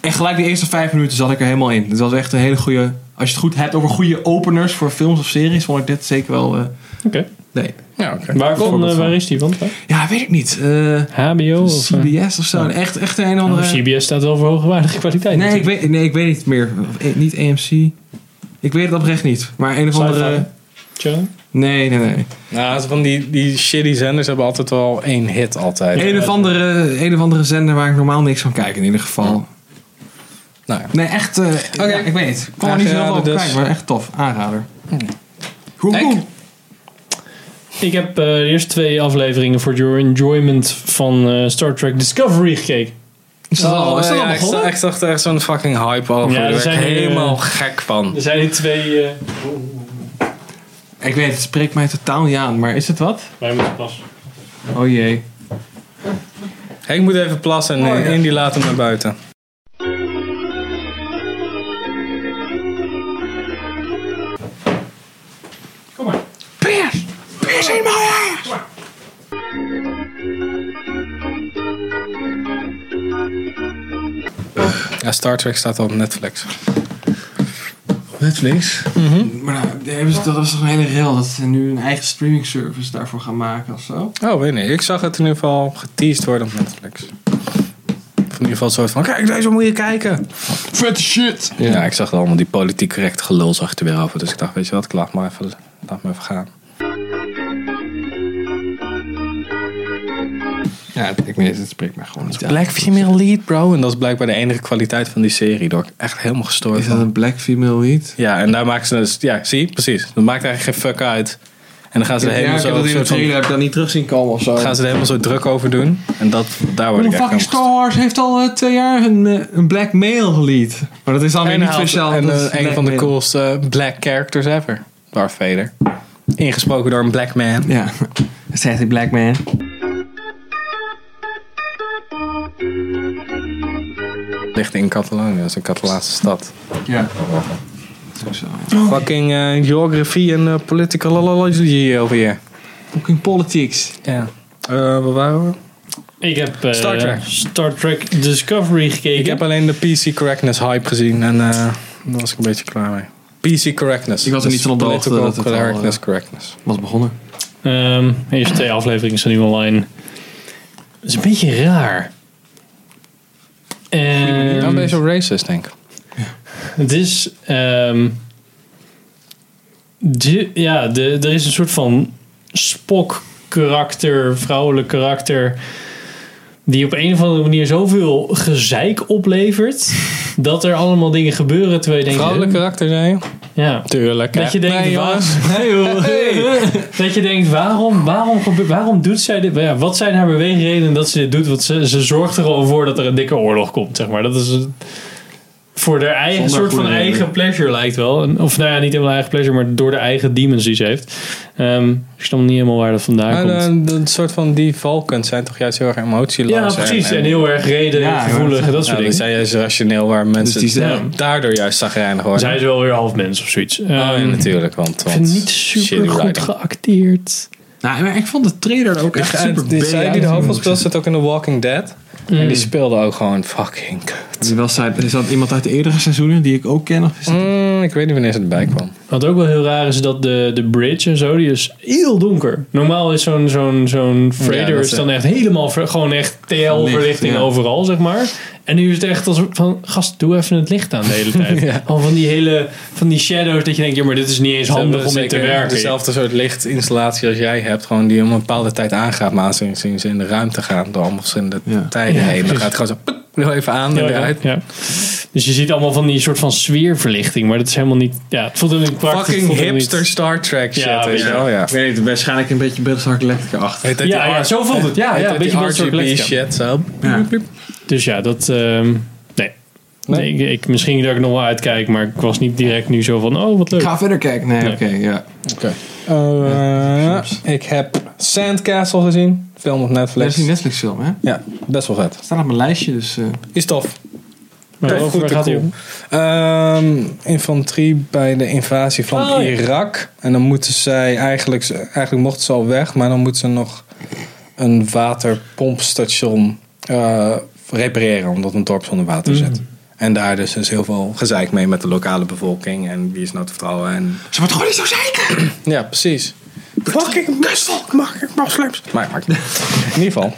S2: en gelijk de eerste vijf minuten zat ik er helemaal in. Het was echt een hele goede... Als je het goed hebt over goede openers voor films of series, vond ik dit zeker wel... eh,
S3: Oké.
S2: nee.
S1: Ja, oké.
S3: Waar, van,
S2: Voorbeeld
S3: eh,
S2: van.
S3: waar is die van?
S2: Ja, weet ik niet. Eh, Oh,
S3: HBO? Of, eh,
S2: CBS of zo. Echt, echt een of
S3: nou,
S2: andere.
S3: CBS staat wel voor hoogwaardige kwaliteit.
S2: Nee ik,
S3: natuurlijk.
S2: weet, nee, ik weet niet meer. Of, eh, Niet AMC. Ik weet het oprecht niet. Maar een of
S3: Sci-fi.
S2: andere.
S3: Channel?
S2: Nee, nee, nee.
S1: Nou, van die, die shitty zenders hebben altijd wel één hit altijd.
S2: Een of, andere, een of andere zender waar ik normaal niks van kijk in ieder geval.
S1: Nou ja.
S2: Nee, echt. eh ja, ik weet het. Ik kon er niet zoveel over
S1: Aangeraden dus.
S2: kijken, maar echt tof. Aanrader. Hoe hoe?
S3: Ik heb eh, de eerste twee afleveringen voor your enjoyment van eh, Star Trek Discovery gekeken.
S2: Is dat al, is dat al
S1: ja, ik, zag,
S2: begonnen?
S1: ik zag er echt zo'n fucking hype over.
S3: Ja, er
S1: Daar werd ik
S3: zijn, eh,
S1: helemaal gek van.
S3: Er zijn die twee... eh,
S2: Ik weet, het spreekt mij totaal niet aan, maar is het wat?
S3: wij moeten pas.
S2: Oh jee.
S1: Henk moet even plassen en eh, Indy laat hem naar buiten.
S3: Kom maar.
S2: Peers! Peers in mijn ass!
S1: Ja, Star Trek staat al op Netflix.
S2: Netflix. Maar nou, hebben ze, dat was toch een hele rail dat ze nu een eigen streaming service daarvoor gaan maken of zo?
S1: Oh, weet niet. Ik zag het in ieder geval geteased worden op Netflix. Of in ieder geval een soort van, kijk, deze moet je kijken.
S2: Vette shit!
S1: Ja, ik zag er allemaal die politiek correcte gelul zag er weer over. Dus ik dacht, weet je wat, ik laat maar even, laat maar even gaan.
S2: Ja, ik weet het, het spreekt mij gewoon niet aan.
S1: Black female lead, bro. En dat is blijkbaar de enige kwaliteit van die serie. Door ik echt helemaal gestoord
S2: Is dat
S1: van.
S2: een black female lead?
S1: Ja, en daar maken ze dus... Ja, zie, precies. Dat maakt eigenlijk geen fuck uit. En dan gaan ze er helemaal zo... soort van-
S2: heb ik dat niet terug zien komen of zo.
S1: gaan ze er helemaal zo druk over doen. En dat, daar word ik echt helemaal gestoord.
S2: fucking Star Wars heeft al eh, twee jaar een, eh, een black male lead. Maar dat is dan weer
S1: En,
S2: niet
S1: hij had-
S2: speciaal.
S1: en
S2: dat
S1: eh,
S2: is
S1: een
S2: black
S1: van de
S2: male.
S1: coolste eh, black characters ever. Darth Vader. Ingesproken door een black man.
S2: Ja, [LAUGHS] zegt die black man.
S1: Ligt in Catalonië. Dat is een Catalaanse stad.
S2: Ja. Sowieso.
S1: Fucking eh, geography en eh, political allergy over hier.
S2: Fucking politics.
S1: Ja. Eh waar waren we?
S3: Ik heb eh,
S1: Star Trek.
S3: Star Trek Discovery gekeken.
S1: Ik heb alleen de PC correctness hype gezien en eh, daar was ik een beetje klaar mee. PC correctness. Dus
S2: Ik was er niet van op de hoogte
S1: Political
S2: dat het al, eh,
S1: correctness, correctness.
S2: Was begonnen.
S3: Ehm, de eerste twee afleveringen zijn nu online. Het is een beetje raar. Ehm,
S1: Dan ben je zo racist, denk ik.
S3: het is... ehm, de- ja, de, er is een soort van Spock-karakter, vrouwelijk karakter... die op een of andere manier zoveel gezeik oplevert... dat er allemaal dingen gebeuren terwijl je denkt...
S1: Vrouwelijk karakter, zei je?
S3: hè? Ja.
S1: Tuurlijk.
S3: Dat je denkt, waar, [LAUGHS]
S2: Nee joh.
S3: dat je denkt waarom, waarom, gebe- waarom doet zij dit? Ja, wat zijn haar beweegredenen dat ze dit doet? Want ze, ze zorgt er al voor dat er een dikke oorlog komt, zeg maar. Dat is een, voor haar eigen
S2: Zonder
S3: soort van
S2: goede reden.
S3: eigen pleasure lijkt wel. En- Of nou ja, niet helemaal eigen pleasure, maar door de eigen demons die ze heeft. Ehm, ik snap niet helemaal waar dat vandaan
S1: Maar
S3: komt.
S1: eh, dat soort van die valkens zijn toch juist heel erg emotieloos.
S3: ja, precies. En heel erg reden,
S2: Ja,
S3: gevoelig en dat
S1: ja,
S3: soort
S1: die
S3: dingen.
S1: zijn juist rationeel waar mensen
S2: die zijn-
S1: het daardoor juist zagrijnig worden.
S3: Zij is wel weer half mens of zoiets. Ehm,
S1: Oh, ja, natuurlijk, want...
S3: ik
S1: want
S3: vind het niet
S1: shitty
S3: super goed
S1: writing.
S3: geacteerd.
S2: Nou, maar ik vond de trailer er ook echt
S1: En
S2: super
S1: die,
S2: bad
S1: zij
S2: uit,
S1: die de
S2: moet
S1: hoofdrol
S2: ik
S1: speelt zit ook in The Walking Dead. En
S3: Mm.
S1: die speelde ook gewoon fucking kut.
S2: zeggen. Die was uit- Is dat iemand uit de eerdere seizoenen die ik ook ken? Of is dat-
S1: Mm, ik weet niet wanneer ze erbij kwam.
S3: Wat ook wel heel raar is dat de, de bridge en zo, die is heel donker. Normaal is zo'n zo'n zo'n freighter
S1: dat
S3: is
S1: is
S3: dan echt helemaal, ver- gewoon echt TL-verlichting
S2: ja.
S3: overal, zeg maar. En nu is het echt als van, gast, doe even het licht aan de hele
S1: [LAUGHS]
S3: tijd. Al van die hele, van die shadows dat je denkt, ja, maar dit is niet eens handig om mee te
S1: Zeker
S3: werken.
S1: Dezelfde soort lichtinstallatie als jij hebt, gewoon die om een bepaalde tijd aangaat, maar aangezien ze in de ruimte gaan door allemaal verschillende
S2: Ja.
S1: tijden
S3: Ja,
S1: heen, dan
S3: precies.
S1: gaat het gewoon zo pop, heel even aan en
S3: Ja,
S1: weer
S3: ja,
S1: uit.
S3: ja. Dus je ziet allemaal van die soort van sfeerverlichting, maar dat is helemaal niet, ja, het voelt helemaal niet praktisch. het
S1: Fucking
S3: voelt helemaal
S1: hipster
S3: niet-
S1: Star Trek shit,
S3: Ja,
S1: ja, weet je
S3: ja.
S1: wel, Oh, ja.
S2: Ik weet niet, waarschijnlijk een beetje Battlestar Galactica achter.
S1: Heet dat
S3: Ja,
S1: die
S3: ja,
S1: R-
S3: zo voelt het. Ja,
S1: heet dat
S3: ja, een
S1: die
S3: beetje Battlestar
S1: RGB
S3: Galactica.
S1: shit, zo.
S2: Ja.
S3: Dus ja, dat, ehm, nee.
S1: Nee?
S3: Nee, ik, ik, misschien dat ik nog wel uitkijk, maar ik was niet direct nu zo van, oh wat leuk.
S2: Ik ga verder kijken. Nee,
S3: Nee.
S2: oké, ja.
S1: Oké. Eh, ik heb Sandcastle gezien, film op
S2: Dat is
S1: Netflix.
S2: die Netflix film, hè?
S1: Ja, best wel vet.
S2: Staat op mijn lijstje, dus... eh,
S1: Is tof.
S3: maar
S1: Tof,
S3: over
S1: goed
S3: waar
S1: en
S3: gaat hij
S1: cool.
S3: om?
S1: Ehm, infanterie bij de invasie van
S3: Oh, ja.
S1: Irak. En dan moeten zij eigenlijk, eigenlijk mochten ze al weg, maar dan moeten ze nog een waterpompstation eh, repareren, omdat een dorp zonder water zit.
S3: Mm.
S1: En daar dus, dus heel veel gezeik mee met de lokale bevolking en wie is nou te vertrouwen. En...
S2: Ze wordt gewoon niet zo zeker!
S1: Ja, precies. Fucking kustvolk, mag ik moslims? Maar maakt
S2: [LAUGHS]
S1: niet. In ieder
S3: [LAUGHS]
S1: geval.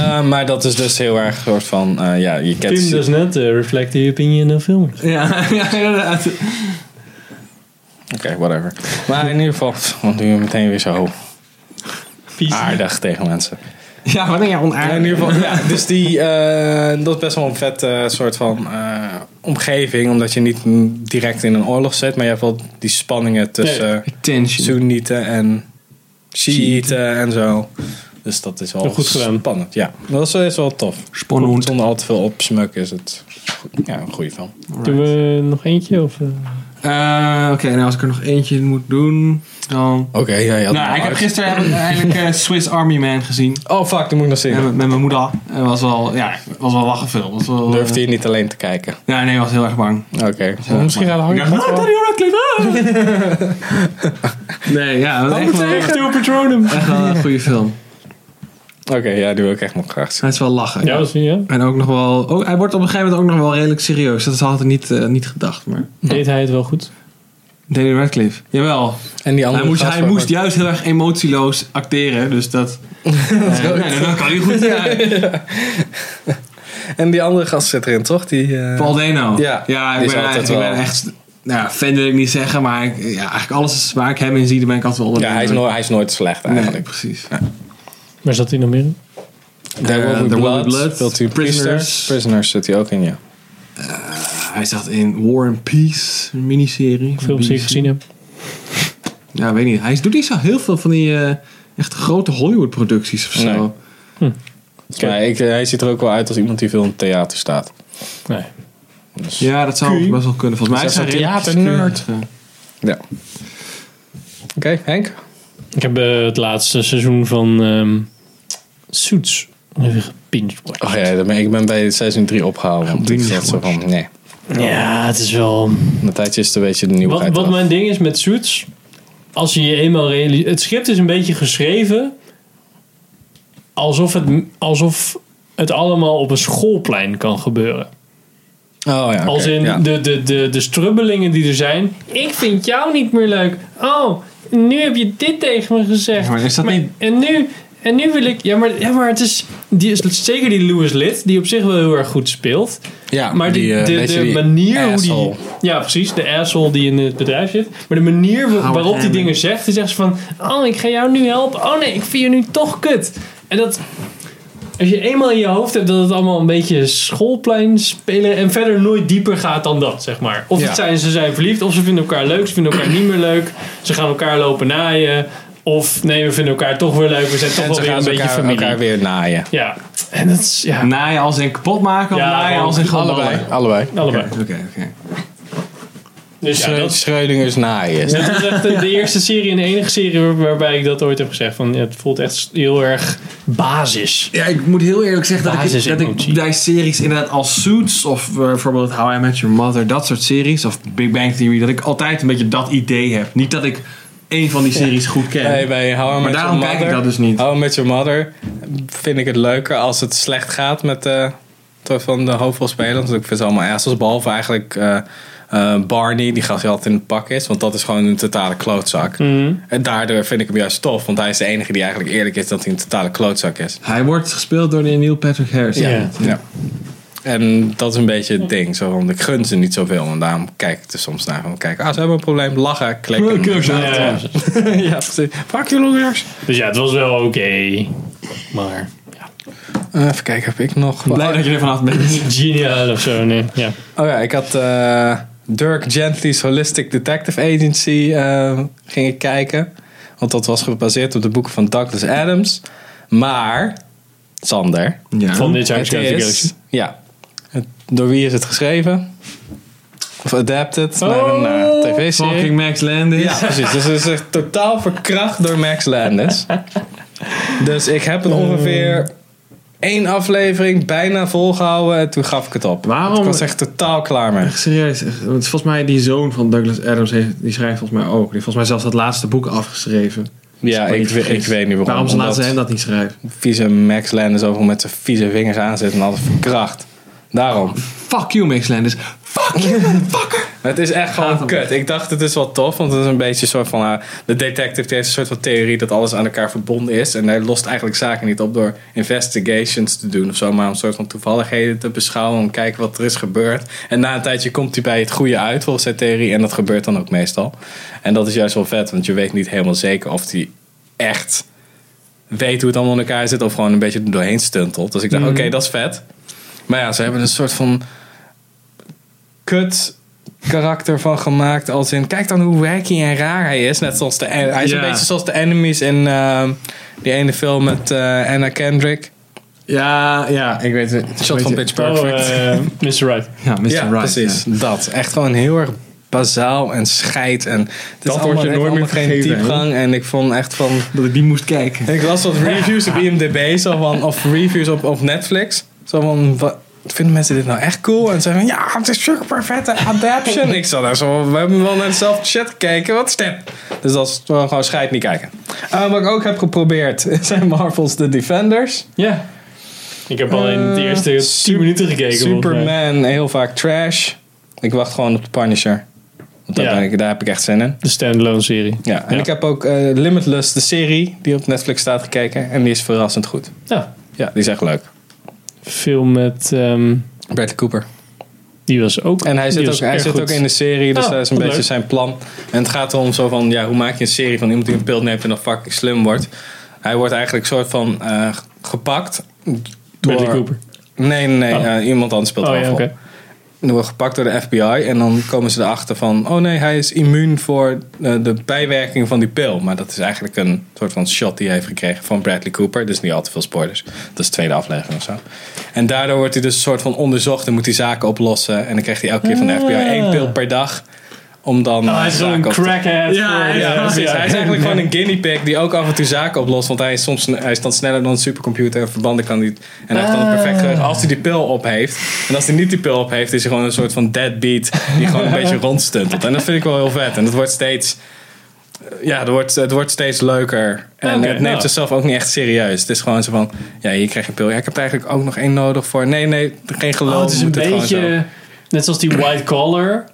S1: Eh, maar dat is dus heel erg een soort van, eh, ja, je kent...
S3: Tim dus net, eh, reflect the opinion of filmers.
S2: Ja, ja inderdaad.
S1: whatever. Maar in ieder geval, want nu meteen weer zo aardig tegen mensen.
S2: Ja, wat ben jij
S1: Ja,
S2: onaardig?
S1: in ieder geval, ja, dus die, eh, dat is best wel een vet eh, soort van eh, omgeving. Omdat je niet mm, direct in een oorlog zit. Maar je hebt wel die spanningen tussen
S3: Ja,
S1: eh,
S2: Tension.
S1: Soenieten en Shiiten en zo. Dus dat is wel
S3: Heel goed gedaan.
S1: spannend. Ja, dat is, is wel tof.
S2: Spannend.
S1: Zonder al te veel opsmuk is het ja, een goede film.
S3: Doen we nog eentje? Of, eh?
S2: Eh, Oké, nou als ik er nog eentje moet doen, dan...
S1: Oké, ja, ja.
S2: Nou, ik heb gisteren heb ik eigenlijk eh, Swiss Army Man gezien.
S1: Oh fuck, dat moet ik nog
S2: Ja,
S1: zien.
S2: met, met mijn moeder. Het was wel, ja, was wel lachen veel. Was wel, eh,
S1: Durfde je niet alleen te kijken.
S2: Ja, nee, was heel erg bang.
S1: Oké.
S2: Ja,
S3: misschien
S2: maar-
S3: gaat Harry
S2: Ik dacht,
S3: dat wel.
S2: ah, Daniel Radcliffe, ah! Nee, ja, dat is echt wel, echt
S3: Patronum.
S2: wel een goede film.
S1: Oké, ja, die wil ik echt nog graag zien.
S2: Hij is wel lachen.
S3: Ja, dat is niet, ja.
S2: En ook nog wel... Oh, hij wordt op een gegeven moment ook nog wel redelijk serieus. Dat had ik niet, eh, niet gedacht, maar...
S3: Deed hij het wel goed?
S2: Daniel Radcliffe. Jawel.
S1: En die andere
S2: Hij moest,
S1: gast
S2: hij
S1: waar-
S2: moest juist heel erg emotieloos acteren,
S1: [LAUGHS]
S2: dus dat... Eh, nee, dat kan hij goed. Ja.
S1: En die andere gast zit erin, toch? Die, eh,
S2: Paul Dano.
S1: Ja,
S2: ja
S1: die
S2: ik,
S1: is
S2: ben
S1: altijd
S2: eigenlijk- ik ben
S1: wel-
S2: echt... Nou, ja, fan wil ik niet zeggen, maar ik- ja, eigenlijk alles waar ik hem in zie, daar ben ik altijd wel onder
S1: Ja,
S2: de
S1: hij is,
S2: indruk.
S1: nooit, hij is nooit slecht
S2: Nee,
S1: eigenlijk.
S2: precies.
S3: Waar zat hij nog meer in? Eh,
S1: There Will Be
S2: There Will Be
S1: Blood,
S2: Blood,
S1: speelt hij
S2: Prisoners.
S1: Prisoners. Prisoners zit hij ook in, ja.
S2: Hij zat in War and Peace, een miniserie. van
S3: Films die ik
S2: BBC.
S3: gezien heb.
S2: Ja, weet niet. Hij doet niet zo heel veel van die eh, echt grote Hollywood-producties of zo.
S1: Nee. Maar ik, eh, hij ziet er ook wel uit als iemand die veel in het theater staat.
S3: Nee.
S1: Dus, ja.
S2: Ja, dat zou
S3: Q.
S2: best wel kunnen. Volgens mij
S1: Is dat
S2: hij
S1: een
S2: redelijk
S1: theaternerd?
S2: skeurig, eh.
S1: Oké, Henk?
S3: Ik heb eh, het laatste seizoen van ehm Suits even gepincht.
S1: Oh ja, dan ben- ik ben bij seizoen 3 opgehouden. Want
S2: Doe
S1: ik
S2: niet
S1: zat zo
S2: goed.
S1: van, nee.
S3: Ja, het is wel...
S1: Na tijdje is het een beetje de
S3: Wat,
S1: nieuwheid.
S3: wat
S1: af.
S3: mijn ding is met Suits, als je je eenmaal realiseert... Het script is een beetje geschreven alsof het, alsof het allemaal op een schoolplein kan gebeuren.
S1: Oh ja, oké,
S3: Als in
S1: ja.
S3: de, de, de, de strubbelingen die er zijn. Ik vind jou niet meer leuk. Oh, nu heb je dit tegen me gezegd.
S2: Ja, maar is dat niet-
S3: En nu, en nu wil ik... Ja, maar, ja, maar het is... Die, is- zeker die Lewis Litt, die op zich wel heel erg goed speelt.
S1: Ja,
S3: Maar die,
S1: eh,
S3: de,
S1: weet je,
S3: de
S1: die
S3: manier hoe die...
S1: asshole.
S3: Ja, precies. De asshole die in het bedrijf zit. Maar de manier wa-
S2: Howard
S3: waarop die
S2: Hammond.
S3: dingen zegt. Die zegt van... Oh, ik ga jou nu helpen. Oh nee, ik vind je nu toch kut. En dat... Als je eenmaal in je hoofd hebt dat het allemaal een beetje schoolplein spelen en verder nooit dieper gaat dan dat, zeg maar. Of
S1: Ja.
S3: het zijn, ze zijn verliefd, of ze vinden elkaar leuk, ze vinden elkaar niet meer leuk. Ze gaan elkaar lopen naaien. Of nee, we vinden elkaar toch weer leuk, we zijn toch
S1: En
S3: wel
S1: ze
S3: weer
S1: gaan
S3: een
S1: ze
S3: beetje
S1: elkaar,
S3: familie.
S1: elkaar weer naaien.
S3: Ja, en dat is, ja,
S2: Naaien als in kapot maken of
S3: Ja,
S2: naaien
S3: gewoon
S2: als in gewoon
S1: Allebei,
S2: ballen?
S1: allebei.
S3: allebei.
S2: Oké, oké, oké.
S3: Dus ja, dat,
S1: Schreudingers naaien.
S3: Dat is echt de, de eerste serie en de enige serie waar- waarbij ik dat ooit heb gezegd. Van, ja, het voelt echt heel erg basis.
S2: Ja, ik moet heel eerlijk zeggen dat ik, dat
S3: Basisemotie.
S2: ik bij series inderdaad als Suits of eh, bijvoorbeeld How I Met Your Mother, dat soort series, of Big Bang Theory, dat ik altijd een beetje dat idee heb. Niet dat ik één van die series goed ken.
S1: Nee, bij How I Met
S2: daarom
S1: Your
S2: kijk ik
S1: Mother-
S2: dat dus niet.
S1: How I Met Your Mother vind ik het leuker als het slecht gaat met de, toch van de hoofdrolspelers. Want ik vind ze allemaal assholes. Behalve eigenlijk eh, eh, Barney, die gast die altijd in het pak is. Want dat is gewoon een totale klootzak.
S2: Mhm.
S1: En daardoor vind ik hem juist tof. Want hij is de enige die eigenlijk eerlijk is dat hij een totale klootzak is.
S2: Hij wordt gespeeld door de Neil Patrick Harris.
S3: Ja.
S1: Ja. En dat is een beetje het ding. Zo, want ik gun ze niet zoveel. En daarom kijk ik er soms naar. Van, kijk, ah, ze hebben een probleem. Lachen, klikken.
S3: Ja, ja.
S1: [LAUGHS] ja, precies. Fuck you, losers.
S3: Dus ja, het was wel oké. Maar
S1: Eh, even kijken, heb ik nog...
S2: Blij dat je er vanaf bent.
S3: niet geniaal of zo, nee. Ja.
S1: Oh ja, ik had eh, Dirk Gently's Holistic Detective Agency eh, ging ik kijken. Want dat was gebaseerd op de boeken van Douglas Adams. Maar, Sander,
S2: Ja.
S3: Van dit jaar
S1: Oh, het
S3: Guardians of the
S1: is... Ja. Het- door wie is het geschreven? Of adapted naar een
S3: Oh,
S1: eh, tv-serie?
S2: Fucking Max Landis.
S1: Ja, precies. Dus het is echt totaal verkracht door Max Landis. Dus ik heb het ongeveer één aflevering bijna volgehouden. En toen gaf ik het op.
S2: Waarom-
S1: Ik was echt totaal klaar mee.
S2: Echt serieus. echt. Want volgens mij die zoon van Douglas Adams, heeft, die schrijft volgens mij ook. Die heeft volgens mij zelfs dat laatste boek afgeschreven.
S1: Ja,
S2: Als me
S1: ik,
S2: niet
S1: we- ik
S2: vergis.
S1: weet niet waarom.
S2: Waarom ze laten
S1: Omdat
S2: ze hem dat niet schrijven?
S1: vieze Max Landis overal met zijn vieze vingers aanzet en alles verkracht. Daarom.
S2: Fuck you, Max Landis. Fuck you, motherfucker.
S1: Maar het is echt
S2: Gaat
S1: gewoon
S2: hem.
S1: kut. Ik dacht, het is wel tof, want het is een beetje een soort van... eh, de detective die heeft een soort van theorie dat alles aan elkaar verbonden is. En hij lost eigenlijk zaken niet op door investigations te doen of zo. Maar om een soort van toevalligheden te beschouwen, om te kijken wat er is gebeurd. En na een tijdje komt hij bij het goede uit, volgens zijn theorie. En dat gebeurt dan ook meestal. En dat is juist wel vet, want je weet niet helemaal zeker of hij echt weet hoe het allemaal in elkaar zit. Of gewoon een beetje er doorheen stuntelt. Dus ik dacht,
S2: Mm.
S3: Mhm.
S1: oké, dat is vet. Maar ja, ze hebben een soort van kut karakter van gemaakt. Als in, kijk dan hoe wacky en raar hij is. Net zoals de, en- hij is
S2: Ja.
S1: een beetje zoals de enemies in ehm, die ene film met eh, Anna Kendrick.
S2: Ja, ja, ik weet het.
S1: Shot van Pitch
S3: Oh,
S1: Perfect.
S3: eh, Mr. Right.
S2: Ja, Mr.
S1: ja,
S2: Right.
S1: precies. Dat. Echt gewoon heel erg bazaal en scheid. En het is
S2: Dat wordt
S1: allemaal-
S2: je
S1: heeft
S2: nooit meer
S1: allemaal geen
S2: vergeten, hè?
S1: diepgang. En ik vond echt van...
S2: Dat ik die moest kijken.
S1: En Ik las wat reviews op IMDb zo van, of reviews op, op Netflix. Zo van, wat, vinden mensen dit nou echt cool? En zeiden van, ja, het is super perfecte adaption. Ik zat daar zo, we hebben wel naar dezelfde chat gekeken. Wat is dit? Dus dat is gewoon, gewoon scheid niet kijken. Eh, wat ik ook heb geprobeerd, [LAUGHS] zijn Marvel's The Defenders.
S3: Ja. Ik heb alleen de
S1: Eh,
S3: eerste 10
S1: Sup-
S3: minuten gekeken. volgens mij.
S1: Superman, heel vaak trash. Ik wacht gewoon op de Punisher. Want daar,
S3: Ja.
S1: ben ik, daar heb ik echt zin in.
S3: De standalone serie.
S1: Ja, en
S3: Ja.
S1: ik heb ook eh, Limitless, de serie die op Netflix staat, gekeken. En die is verrassend goed.
S3: Ja.
S1: Ja, die is echt leuk.
S3: Film met... ehm,
S1: Bradley Cooper.
S3: die was ook
S1: En hij
S3: die
S1: zit, ook,
S3: was
S1: hij
S3: erg
S1: zit
S3: goed.
S1: ook in de serie, dus
S3: Oh,
S1: dat is een
S3: wat
S1: beetje
S3: leuk.
S1: zijn plan. En het gaat erom zo van, ja, hoe maak je een serie van iemand die een pil neemt en dan fucking slim wordt. Hij wordt eigenlijk soort van eh, gepakt door...
S3: Bradley Cooper.
S1: Nee, nee, nee,
S3: Oh.
S1: eh, iemand anders speelt
S3: Oh
S1: eraf
S3: ja,
S1: op.
S3: oké.
S1: En dan wordt gepakt door de FBI en dan komen ze erachter van... oh nee, hij is immuun voor eh, de bijwerking van die pil. Maar dat is eigenlijk een soort van shot die hij heeft gekregen van Bradley Cooper. Dus niet al te veel spoilers. Dat is de tweede aflevering of zo. En daardoor wordt hij dus een soort van onderzocht en moet hij zaken oplossen. En dan krijgt hij elke keer van de FBI één pil per dag om dan... eh,
S3: Oh, hij is
S1: zaken
S3: zo'n
S1: op te-
S3: crackhead.
S2: Ja,
S3: voor-
S2: hij is-
S1: ja, precies.
S3: ja.
S1: Hij is eigenlijk gewoon een guinea pig die ook af en toe zaken oplost. Want hij is soms hij is dan sneller dan een supercomputer en verbanden kan niet. En hij heeft dan een perfect
S3: Ah.
S1: geheugen als hij die pil op heeft. En als hij niet die pil op heeft, is hij gewoon een soort van deadbeat die gewoon
S3: [LAUGHS]
S1: een beetje rondstuntelt. En dat vind ik wel heel vet. En het wordt steeds. eh, Ja, het wordt, het wordt steeds leuker. En
S3: Oké,
S1: het neemt
S3: nou.
S1: zichzelf ook niet echt serieus. Het is gewoon zo van, ja, hier krijg je een pil. Ja, ik heb er eigenlijk ook nog één nodig voor. Nee, nee, geen geloof.
S3: Oh, het is
S1: we
S3: een
S1: moeten het gewoon
S3: beetje... Net zoals die white collar,
S1: zo-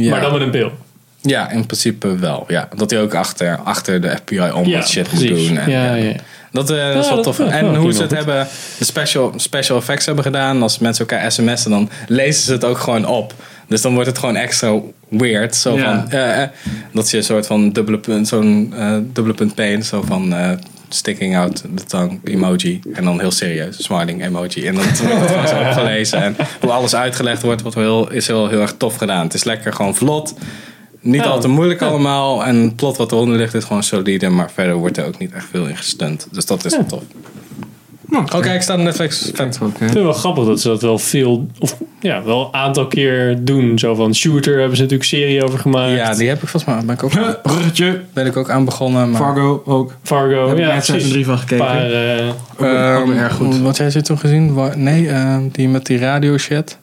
S1: Ja.
S3: maar dan met een pil.
S1: Ja, in principe wel. Ja. Dat hij ook achter, achter de FBI om
S3: Ja,
S1: wat shit
S3: precies.
S1: moet doen. En,
S3: Ja, ja.
S1: Dat, eh, dat is wel
S3: Ja, dat-
S1: tof.
S3: ja,
S1: en
S3: dat
S1: hoe
S3: klinkt
S1: ze het
S3: wel goed.
S1: hebben, de special, special effects hebben gedaan. Als mensen elkaar sms'en, dan lezen ze het ook gewoon op. Dus dan wordt het gewoon extra weird. Zo
S2: Ja.
S1: van, eh, eh, dat je een soort van dubbele punt, zo'n eh, dubbele punt pain. Zo van eh, sticking out the tongue emoji. En dan heel serieus, smiling emoji. En dan [LAUGHS] wordt het gewoon zo opgelezen. En hoe alles uitgelegd wordt, wordt wel heel, is heel, heel erg tof gedaan. Het is lekker gewoon vlot. Niet
S3: Oh. Ja.
S1: al te moeilijk allemaal. En het plot wat eronder ligt is gewoon solide. Maar verder wordt er ook niet echt veel in gestunt. Dus dat is wel tof. Oké, ik sta op Netflix. Vet.
S2: Ook, hè?
S3: Ik vind het wel grappig dat ze dat wel veel, of ja, wel een aantal keer doen. Zo van Shooter hebben ze natuurlijk serie over gemaakt.
S1: Ja, die heb ik volgens mij ben ik ook,
S2: Bruggetje.
S1: ben ik ook aan begonnen. Maar,
S2: Fargo ook.
S3: Fargo,
S2: Heb ik
S3: ja,
S2: net
S3: precies.
S2: seizoen drie van
S3: Een
S2: gekeken.
S3: paar, eh,
S2: Ook weer- ook weer erg goed.
S1: ehm, Wat jij ze toen gezien? Wa- Nee, eh, die met die radio shit.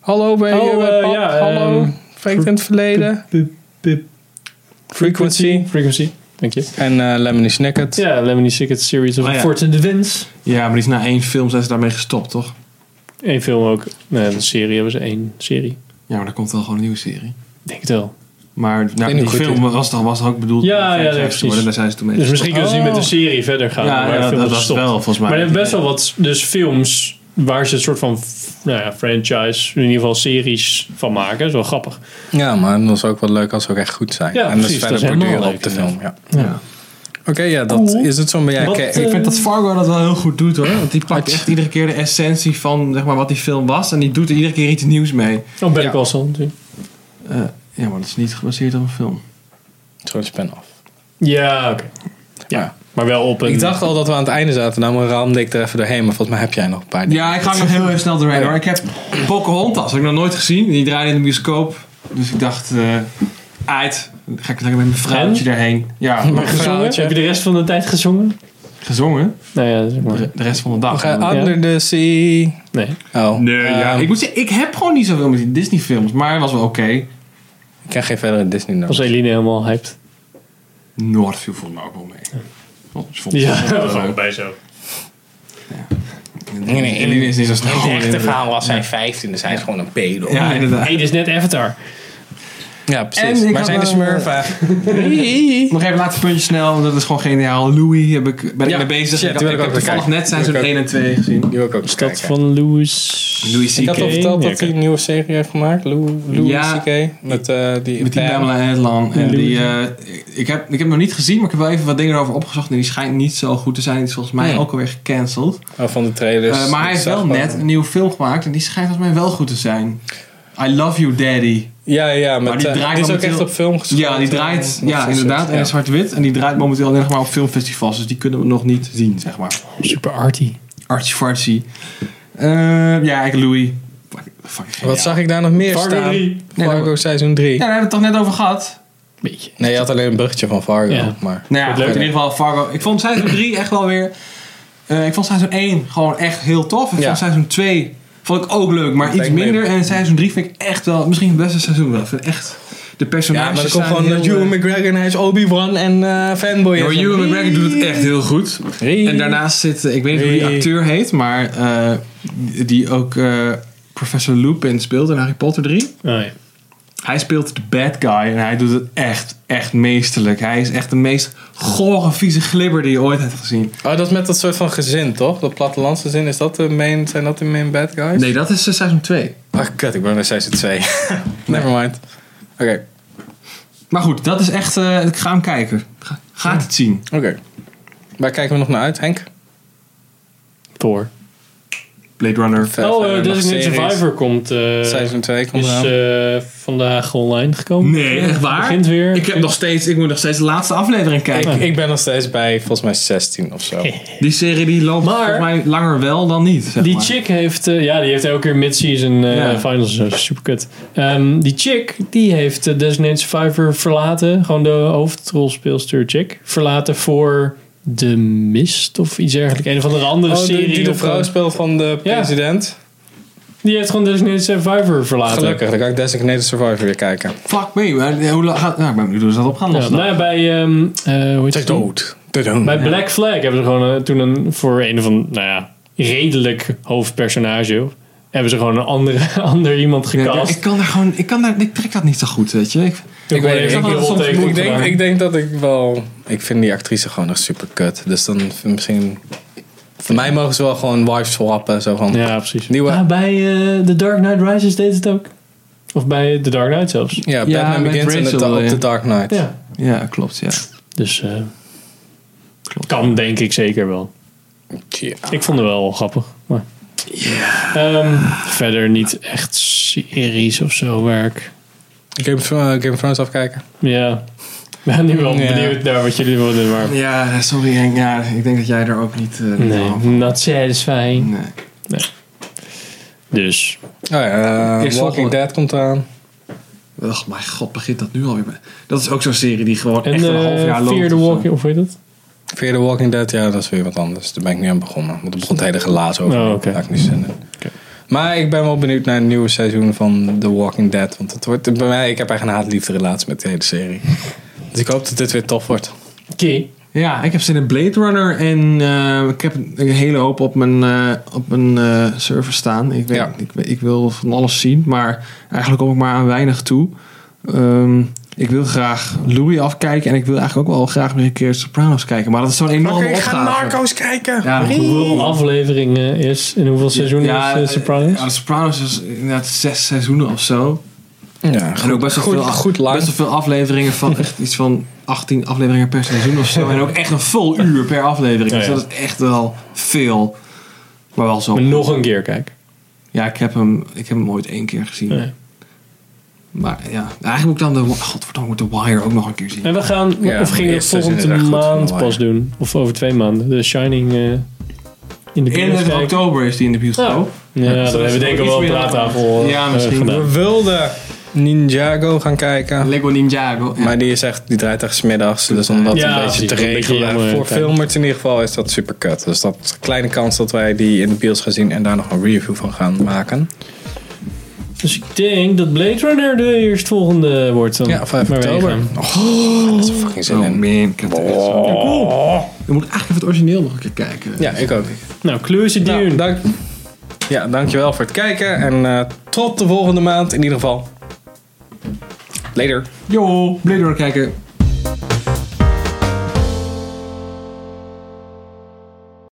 S1: Hallo, ben je
S3: Oh,
S1: met
S3: eh,
S1: pap?
S3: ja,
S1: Hallo,
S3: ehm,
S1: fake in het verleden.
S3: pip, pip,
S1: Frequency.
S3: frequency, dank je.
S1: En eh Lemony Snicket.
S3: Ja, Lemony Ticket Series of
S2: Oh, ja.
S3: Fort and the Winds.
S2: Ja, maar die is na één film zijn ze daarmee gestopt, toch?
S3: Eén film ook. Nee, een serie hebben ze één serie.
S2: Ja, maar er komt wel gewoon een nieuwe serie.
S3: Ik Denk het wel.
S2: Maar
S1: niet
S2: nou, die
S1: hoe goed
S2: film
S1: dit-
S2: was toch, was toch ook bedoeld
S3: Ja,
S2: om een
S3: ja, nee,
S2: franchise te
S3: precies.
S2: worden, Daar zijn ze toen mee
S3: Dus
S2: gestopt.
S3: misschien kunnen ze niet
S1: Oh.
S3: met de serie verder gaan.
S2: Ja,
S3: maar de
S2: ja,
S3: film
S2: dat
S3: is
S2: was
S3: gestopt.
S2: wel volgens mij.
S3: Maar er zijn best wel wat dus films waar ze een soort van f- nou ja, franchise, in ieder geval series van maken. Dat is wel grappig.
S1: Ja, maar dat is ook wel leuk als ze ook echt goed zijn.
S3: Ja,
S1: en dus
S3: precies, dat
S1: verder
S3: is helemaal
S1: borduren op
S3: leuk,
S1: de film. Ja.
S2: Ja.
S1: Oké, ja, dat
S3: Cool.
S1: is het zo'n beetje.
S3: Wat,
S1: Kijk,
S3: eh,
S2: Ik vind dat Fargo dat wel heel goed doet hoor. Want die pakt echt iedere keer de essentie van zeg maar, wat die film was. En die doet er iedere keer iets nieuws mee.
S3: Oh, Better
S1: Ja.
S3: Call Saul natuurlijk.
S2: Eh, ja, maar dat is niet gebaseerd op een film.
S1: Zo'n spin-off.
S3: Ja, oké.
S1: Ja.
S3: Maar wel op een...
S1: Ik dacht al dat we aan het einde zaten, nou maar ramde ik er even doorheen. Maar volgens mij heb jij nog een paar dingen.
S2: Ja, ik ga er nog heel even snel doorheen hoor. Ik heb Pocahontas, heb ik nog nooit gezien. Die draaide in de bioscoop. Dus ik dacht, eh uit. Dan ga ik lekker met mijn vrouwtje daarheen. [LAUGHS] Ja,
S1: Maar
S3: gezongen?
S1: vrouwtje.
S3: Heb je de rest van de tijd gezongen?
S2: gezongen.
S3: Nou ja, zeg maar.
S2: De de rest van de
S1: We
S2: dag.
S1: gaan under the sea.
S3: Nee.
S1: Oh.
S2: Nee, ja.
S1: ehm,
S2: Ik
S1: ik...
S2: moet zeggen, ik heb gewoon niet zoveel met die Disney films. Maar het was wel oké.
S1: ken geen verdere Disney
S3: Was
S1: nummers.
S3: Eline helemaal hyped.
S2: Noord viel voor me ook wel mee. Oh, ze vond het
S3: Ja,
S2: wel leuk.
S3: gewoon bij zo.
S1: Nee, nee,
S2: Eline is niet zo snel.
S1: Het echte verhaal was hij 15, dus hij is gewoon een pedo.
S2: Ja, inderdaad.
S3: hey, dit is net Avatar.
S1: Ja,
S2: En
S1: precies.
S2: ik
S1: Waar
S2: had,
S1: zijn de
S2: eh,
S1: smurfen? [LAUGHS]
S2: Nog even laatste puntje snel, dat is gewoon geniaal. Louis heb ik, ben
S1: Ja,
S2: ik mee bezig.
S1: shit,
S2: ik
S1: die wil
S2: heb,
S1: ik
S2: ik heb
S1: ook weer
S2: toevallig
S1: kijken.
S2: net zijn
S1: Die
S2: zo'n
S1: wil ik
S2: 1 en 2 gezien.
S1: Die wil ik ook eens
S3: Stad
S1: kijken.
S3: van Louis.
S2: Louis
S1: Ik had al
S3: CK.
S1: verteld
S3: Ja,
S1: dat hij
S3: oké.
S1: een nieuwe serie heeft gemaakt. Lou, Louis
S2: Ja.
S1: C.K. Met, eh, die,
S2: Met die
S1: Pam.
S2: Pamela Adlon. En
S3: Ja.
S2: die, eh, ik, heb, ik heb hem nog niet gezien, maar ik heb wel even wat dingen erover opgezocht. En die schijnt niet zo goed te zijn. Die is volgens mij
S1: Nee.
S2: ook alweer gecanceld.
S1: Oh, van de trailers.
S2: Eh, maar hij heeft
S1: Ik
S2: wel
S1: zag
S2: net een nieuwe film gemaakt. En die schijnt volgens mij wel goed te zijn. I Love You Daddy.
S1: Ja, ja. Met,
S2: Maar die
S1: eh,
S2: draait
S1: is ook
S2: momenteel-
S1: echt op film geschoten.
S2: Ja, die draait.
S1: Dat
S2: Ja,
S1: soort
S2: inderdaad.
S1: shit,
S2: En
S1: ja.
S2: in zwart-wit. En die draait momenteel alleen nog maar op filmfestivals. Dus die kunnen we nog niet zien, zeg maar.
S3: Super arty.
S2: Archie Fartsy. Eh, ja, ik Louis. Fuck, fuck,
S1: Wat
S2: geniaal.
S1: zag ik daar nog meer
S3: Fargo
S1: staan?
S3: 3.
S2: Nee,
S1: Fargo
S2: dat-
S1: seizoen 3.
S2: Ja, daar hebben we het toch net over gehad.
S3: Beetje.
S1: Nee, je had alleen een bruggetje van Fargo.
S3: Ja.
S1: Maar
S2: Nou ja,
S3: Wat
S2: goed,
S3: leuk.
S2: in ieder geval Fargo. Ik vond seizoen 3 echt wel weer... eh, ik vond seizoen 1 gewoon echt heel tof. Ik
S1: Ja.
S2: vond seizoen 2 vond ik ook leuk, maar
S1: Dat
S2: iets
S1: denk ik
S2: minder.
S1: mee.
S2: En seizoen 3 vind ik echt wel... Misschien het beste seizoen wel. Ik vind echt... De personages
S1: ja, maar dan komt
S2: zijn
S1: gewoon
S2: heel,
S1: dat Ewan
S2: eh,
S1: McGregor en hij is Obi-Wan en eh fanboy.
S2: Ja, maar
S1: is.
S2: Ewan McGregor doet het echt heel goed.
S1: Hey.
S2: En daarnaast zit, eh, ik weet niet hoe die
S1: Hey.
S2: acteur heet, maar eh, die- die ook eh, Professor Lupin speelt in Harry Potter 3.
S3: Oh, ja.
S2: Hij speelt de bad guy en hij doet het echt, echt meesterlijk. Hij is echt de meest gore, vieze glibber die je ooit hebt gezien.
S1: Oh, dat is met dat soort van gezin, toch? Dat plattelandse gezin. Is dat de main, zijn dat de main bad guys?
S2: Nee, dat is eh, seizoen 2.
S1: Ach, kut. Ik ben bij seizoen [LAUGHS] 2. Nevermind. Oké.
S2: Maar goed, dat is echt... eh, ik ga hem kijken. Ga, gaat het zien.
S1: Oké. Waar kijken we nog naar uit, Henk?
S3: Thor.
S2: Blade Runner.
S1: Ver-
S3: oh,
S1: verder
S3: eh,
S1: nog
S3: Designated
S1: series.
S3: Survivor komt. eh,
S1: Seizoen 2 komt
S3: is
S1: eraan.
S3: eh, vandaag online gekomen.
S2: Nee, echt waar?
S3: Begint weer.
S2: Ik, heb nog steeds, ik moet nog steeds de laatste aflevering
S3: eh,
S2: kijken.
S1: ik, ik ben nog steeds bij volgens mij 16
S3: [LAUGHS]
S1: of zo.
S2: Die serie die loopt
S3: Maar-
S2: volgens mij langer wel dan niet. Zeg
S3: Die
S2: maar.
S3: chick heeft, eh, ja, die heeft elke keer mid-season eh,
S2: Ja.
S3: finals. eh, super kut. Ehm, die chick, die heeft eh, Designated Survivor verlaten. Gewoon de hoofdrolspeelster chick. Verlaten voor De Mist of iets dergelijks. Een of andere andere
S1: Oh,
S3: serie.
S1: die, die de
S3: of- eh,
S1: vrouw speelt van de
S3: Ja.
S1: president.
S3: die heeft gewoon Designated Survivor verlaten.
S1: Gelukkig, dan kan ik Designated Survivor weer kijken.
S2: Fuck me. maar, eh, Hoe lang gaat... Nou, ik ben benieuwd hoe ze dat op gaan
S3: Ja,
S2: lossen.
S3: nou ja, bij, ehm, eh, hoe heet het?
S1: dood.
S3: bij Black Flag hebben ze gewoon eh, toen een, voor een van, nou ja, redelijk hoofdpersonage. Hebben ze gewoon een andere, [LAUGHS] ander iemand
S2: Ja, ik-
S3: gecast.
S2: ik kan daar gewoon... Ik, kan daar, ik trek dat niet zo goed, weet je. Ik,
S1: Ik, weet,
S3: Even
S1: ik,
S3: die
S1: ik,
S3: roltekening
S1: ik denk,
S3: gedaan.
S1: ik denk dat ik wel... Ik vind die actrice gewoon echt super kut. Dus dan vind ik misschien... Voor mij mogen ze wel gewoon wives swappen. Zo van,
S3: Ja, precies.
S1: Nieuwe-
S3: Ah, bij eh, The Dark Knight Rises deed het ook. Of bij The Dark Knight zelfs.
S1: ja,
S2: Ja,
S1: Batman
S2: met
S1: Begins en de,
S2: Rachel,
S1: op
S2: ja.
S1: The Dark Knight.
S3: Ja.
S2: ja, klopt, ja.
S3: Dus eh,
S2: Klopt.
S3: kan denk ik zeker wel.
S1: Tja.
S3: Ik vond het wel grappig. Maar. Ehm, verder niet echt series of zo werk.
S1: Game, of- eh, Game of Thrones afkijken.
S3: Ja. Ik ben nu wel
S1: Ja.
S3: benieuwd naar wat jullie willen. Maar
S2: Ja, sorry Henk. Ja, ik denk dat jij er ook niet... eh, niet
S3: nee,
S2: aan-
S3: not satisfying.
S2: nee.
S3: Dus
S1: Oh ja, eh,
S2: Eerst
S1: Walking
S2: volgende.
S1: Dead komt eraan.
S2: Och, mijn god, begint dat nu alweer. met- Dat is ook zo'n serie die gewoon
S3: en
S2: echt een half jaar
S3: eh
S2: loopt.
S3: Fear the
S2: of zo.
S3: Walking, of weet het?
S1: Via The Walking Dead, ja, dat is weer wat anders. Daar ben ik nu aan begonnen. Want er begon het hele gelaas over.
S3: Oh, oké.
S1: Daar heb ik niet zin in.
S3: Oké.
S1: Maar ik ben wel benieuwd naar het nieuwe seizoen van The Walking Dead. Want het wordt, bij mij, ik heb echt een haat-liefde relatie met de hele serie. Dus ik hoop dat dit weer tof wordt.
S3: Oké.
S2: Ja, ik heb zin in Blade Runner en eh, ik heb een hele hoop op mijn, eh, op mijn eh, server staan. Ik, weet,
S1: Ja.
S2: ik, weet- ik wil van alles zien, maar eigenlijk kom ik maar aan weinig toe. Ehm, ik wil graag Louis afkijken en ik wil eigenlijk ook wel graag weer een keer Sopranos kijken. Maar dat is zo'n enorme opgave.
S1: kijken.
S2: Ja, dat
S3: Hoeveel afleveringen is en hoeveel seizoenen is eh, Sopranos?
S2: Ja, de Sopranos is inderdaad zes seizoenen of zo.
S1: Ja,
S2: En ook best wel,
S1: goed,
S2: veel,
S1: goed lang.
S2: best wel veel afleveringen van echt iets van 18 afleveringen per seizoen of zo. En ook echt een vol uur per aflevering.
S3: Ja,
S2: Dus
S3: ja.
S2: dat is echt wel veel. Maar wel
S3: Maar
S2: zo.
S3: nog een keer kijken.
S2: Ja, ik heb hem, ik heb hem ooit één keer gezien.
S3: Ja.
S2: Maar ja, eigenlijk moet ik dan de, godverdomme, moet ik The Wire ook nog een keer zien.
S3: En we gaan,
S1: Ja,
S3: of
S1: maar
S3: gingen we
S1: eerst is
S3: volgende
S1: inderdaad goed van de
S3: maand
S1: wire.
S3: pas doen? Of over twee maanden? De Shining eh, in de bioscoop.
S2: 31 oktober is die in de bioscoop.
S3: Ja,
S2: Dus
S3: dan
S2: dat
S3: hebben we
S2: is
S3: denk ik
S2: nog
S3: wel een
S2: iets meer
S3: praattafel eh,
S2: Ja,
S3: eh,
S2: misschien.
S3: gedaan.
S1: We wilden Ninjago gaan kijken.
S2: Lego Ninjago. Ja.
S1: Maar die, is echt, die draait echt smiddags. Dus om dat
S3: Ja,
S1: een beetje
S3: precies.
S1: te
S3: Een beetje
S1: regelen.
S3: jammer,
S1: voor
S3: tijd.
S1: filmers in ieder geval is dat super kut. Dus dat is een kleine kans dat wij die in de bios gaan zien. En daar nog een review van gaan maken.
S3: Dus ik denk dat Blade Runner de eerstvolgende wordt dan.
S1: Ja, 5
S3: Maar wij
S1: oktober.
S3: gaan.
S1: Oh, dat is fucking zin
S2: Oh
S1: in.
S2: man, ik heb het echt zo. Dan moet ik eigenlijk even het origineel nog een keer kijken.
S1: Ja, ik ook.
S3: Nou, Clues in
S1: Nou,
S3: Dune.
S1: dank, ja, dankjewel voor het kijken. En eh, tot de volgende maand in ieder geval. Later.
S2: Yo, blijf doorkijken.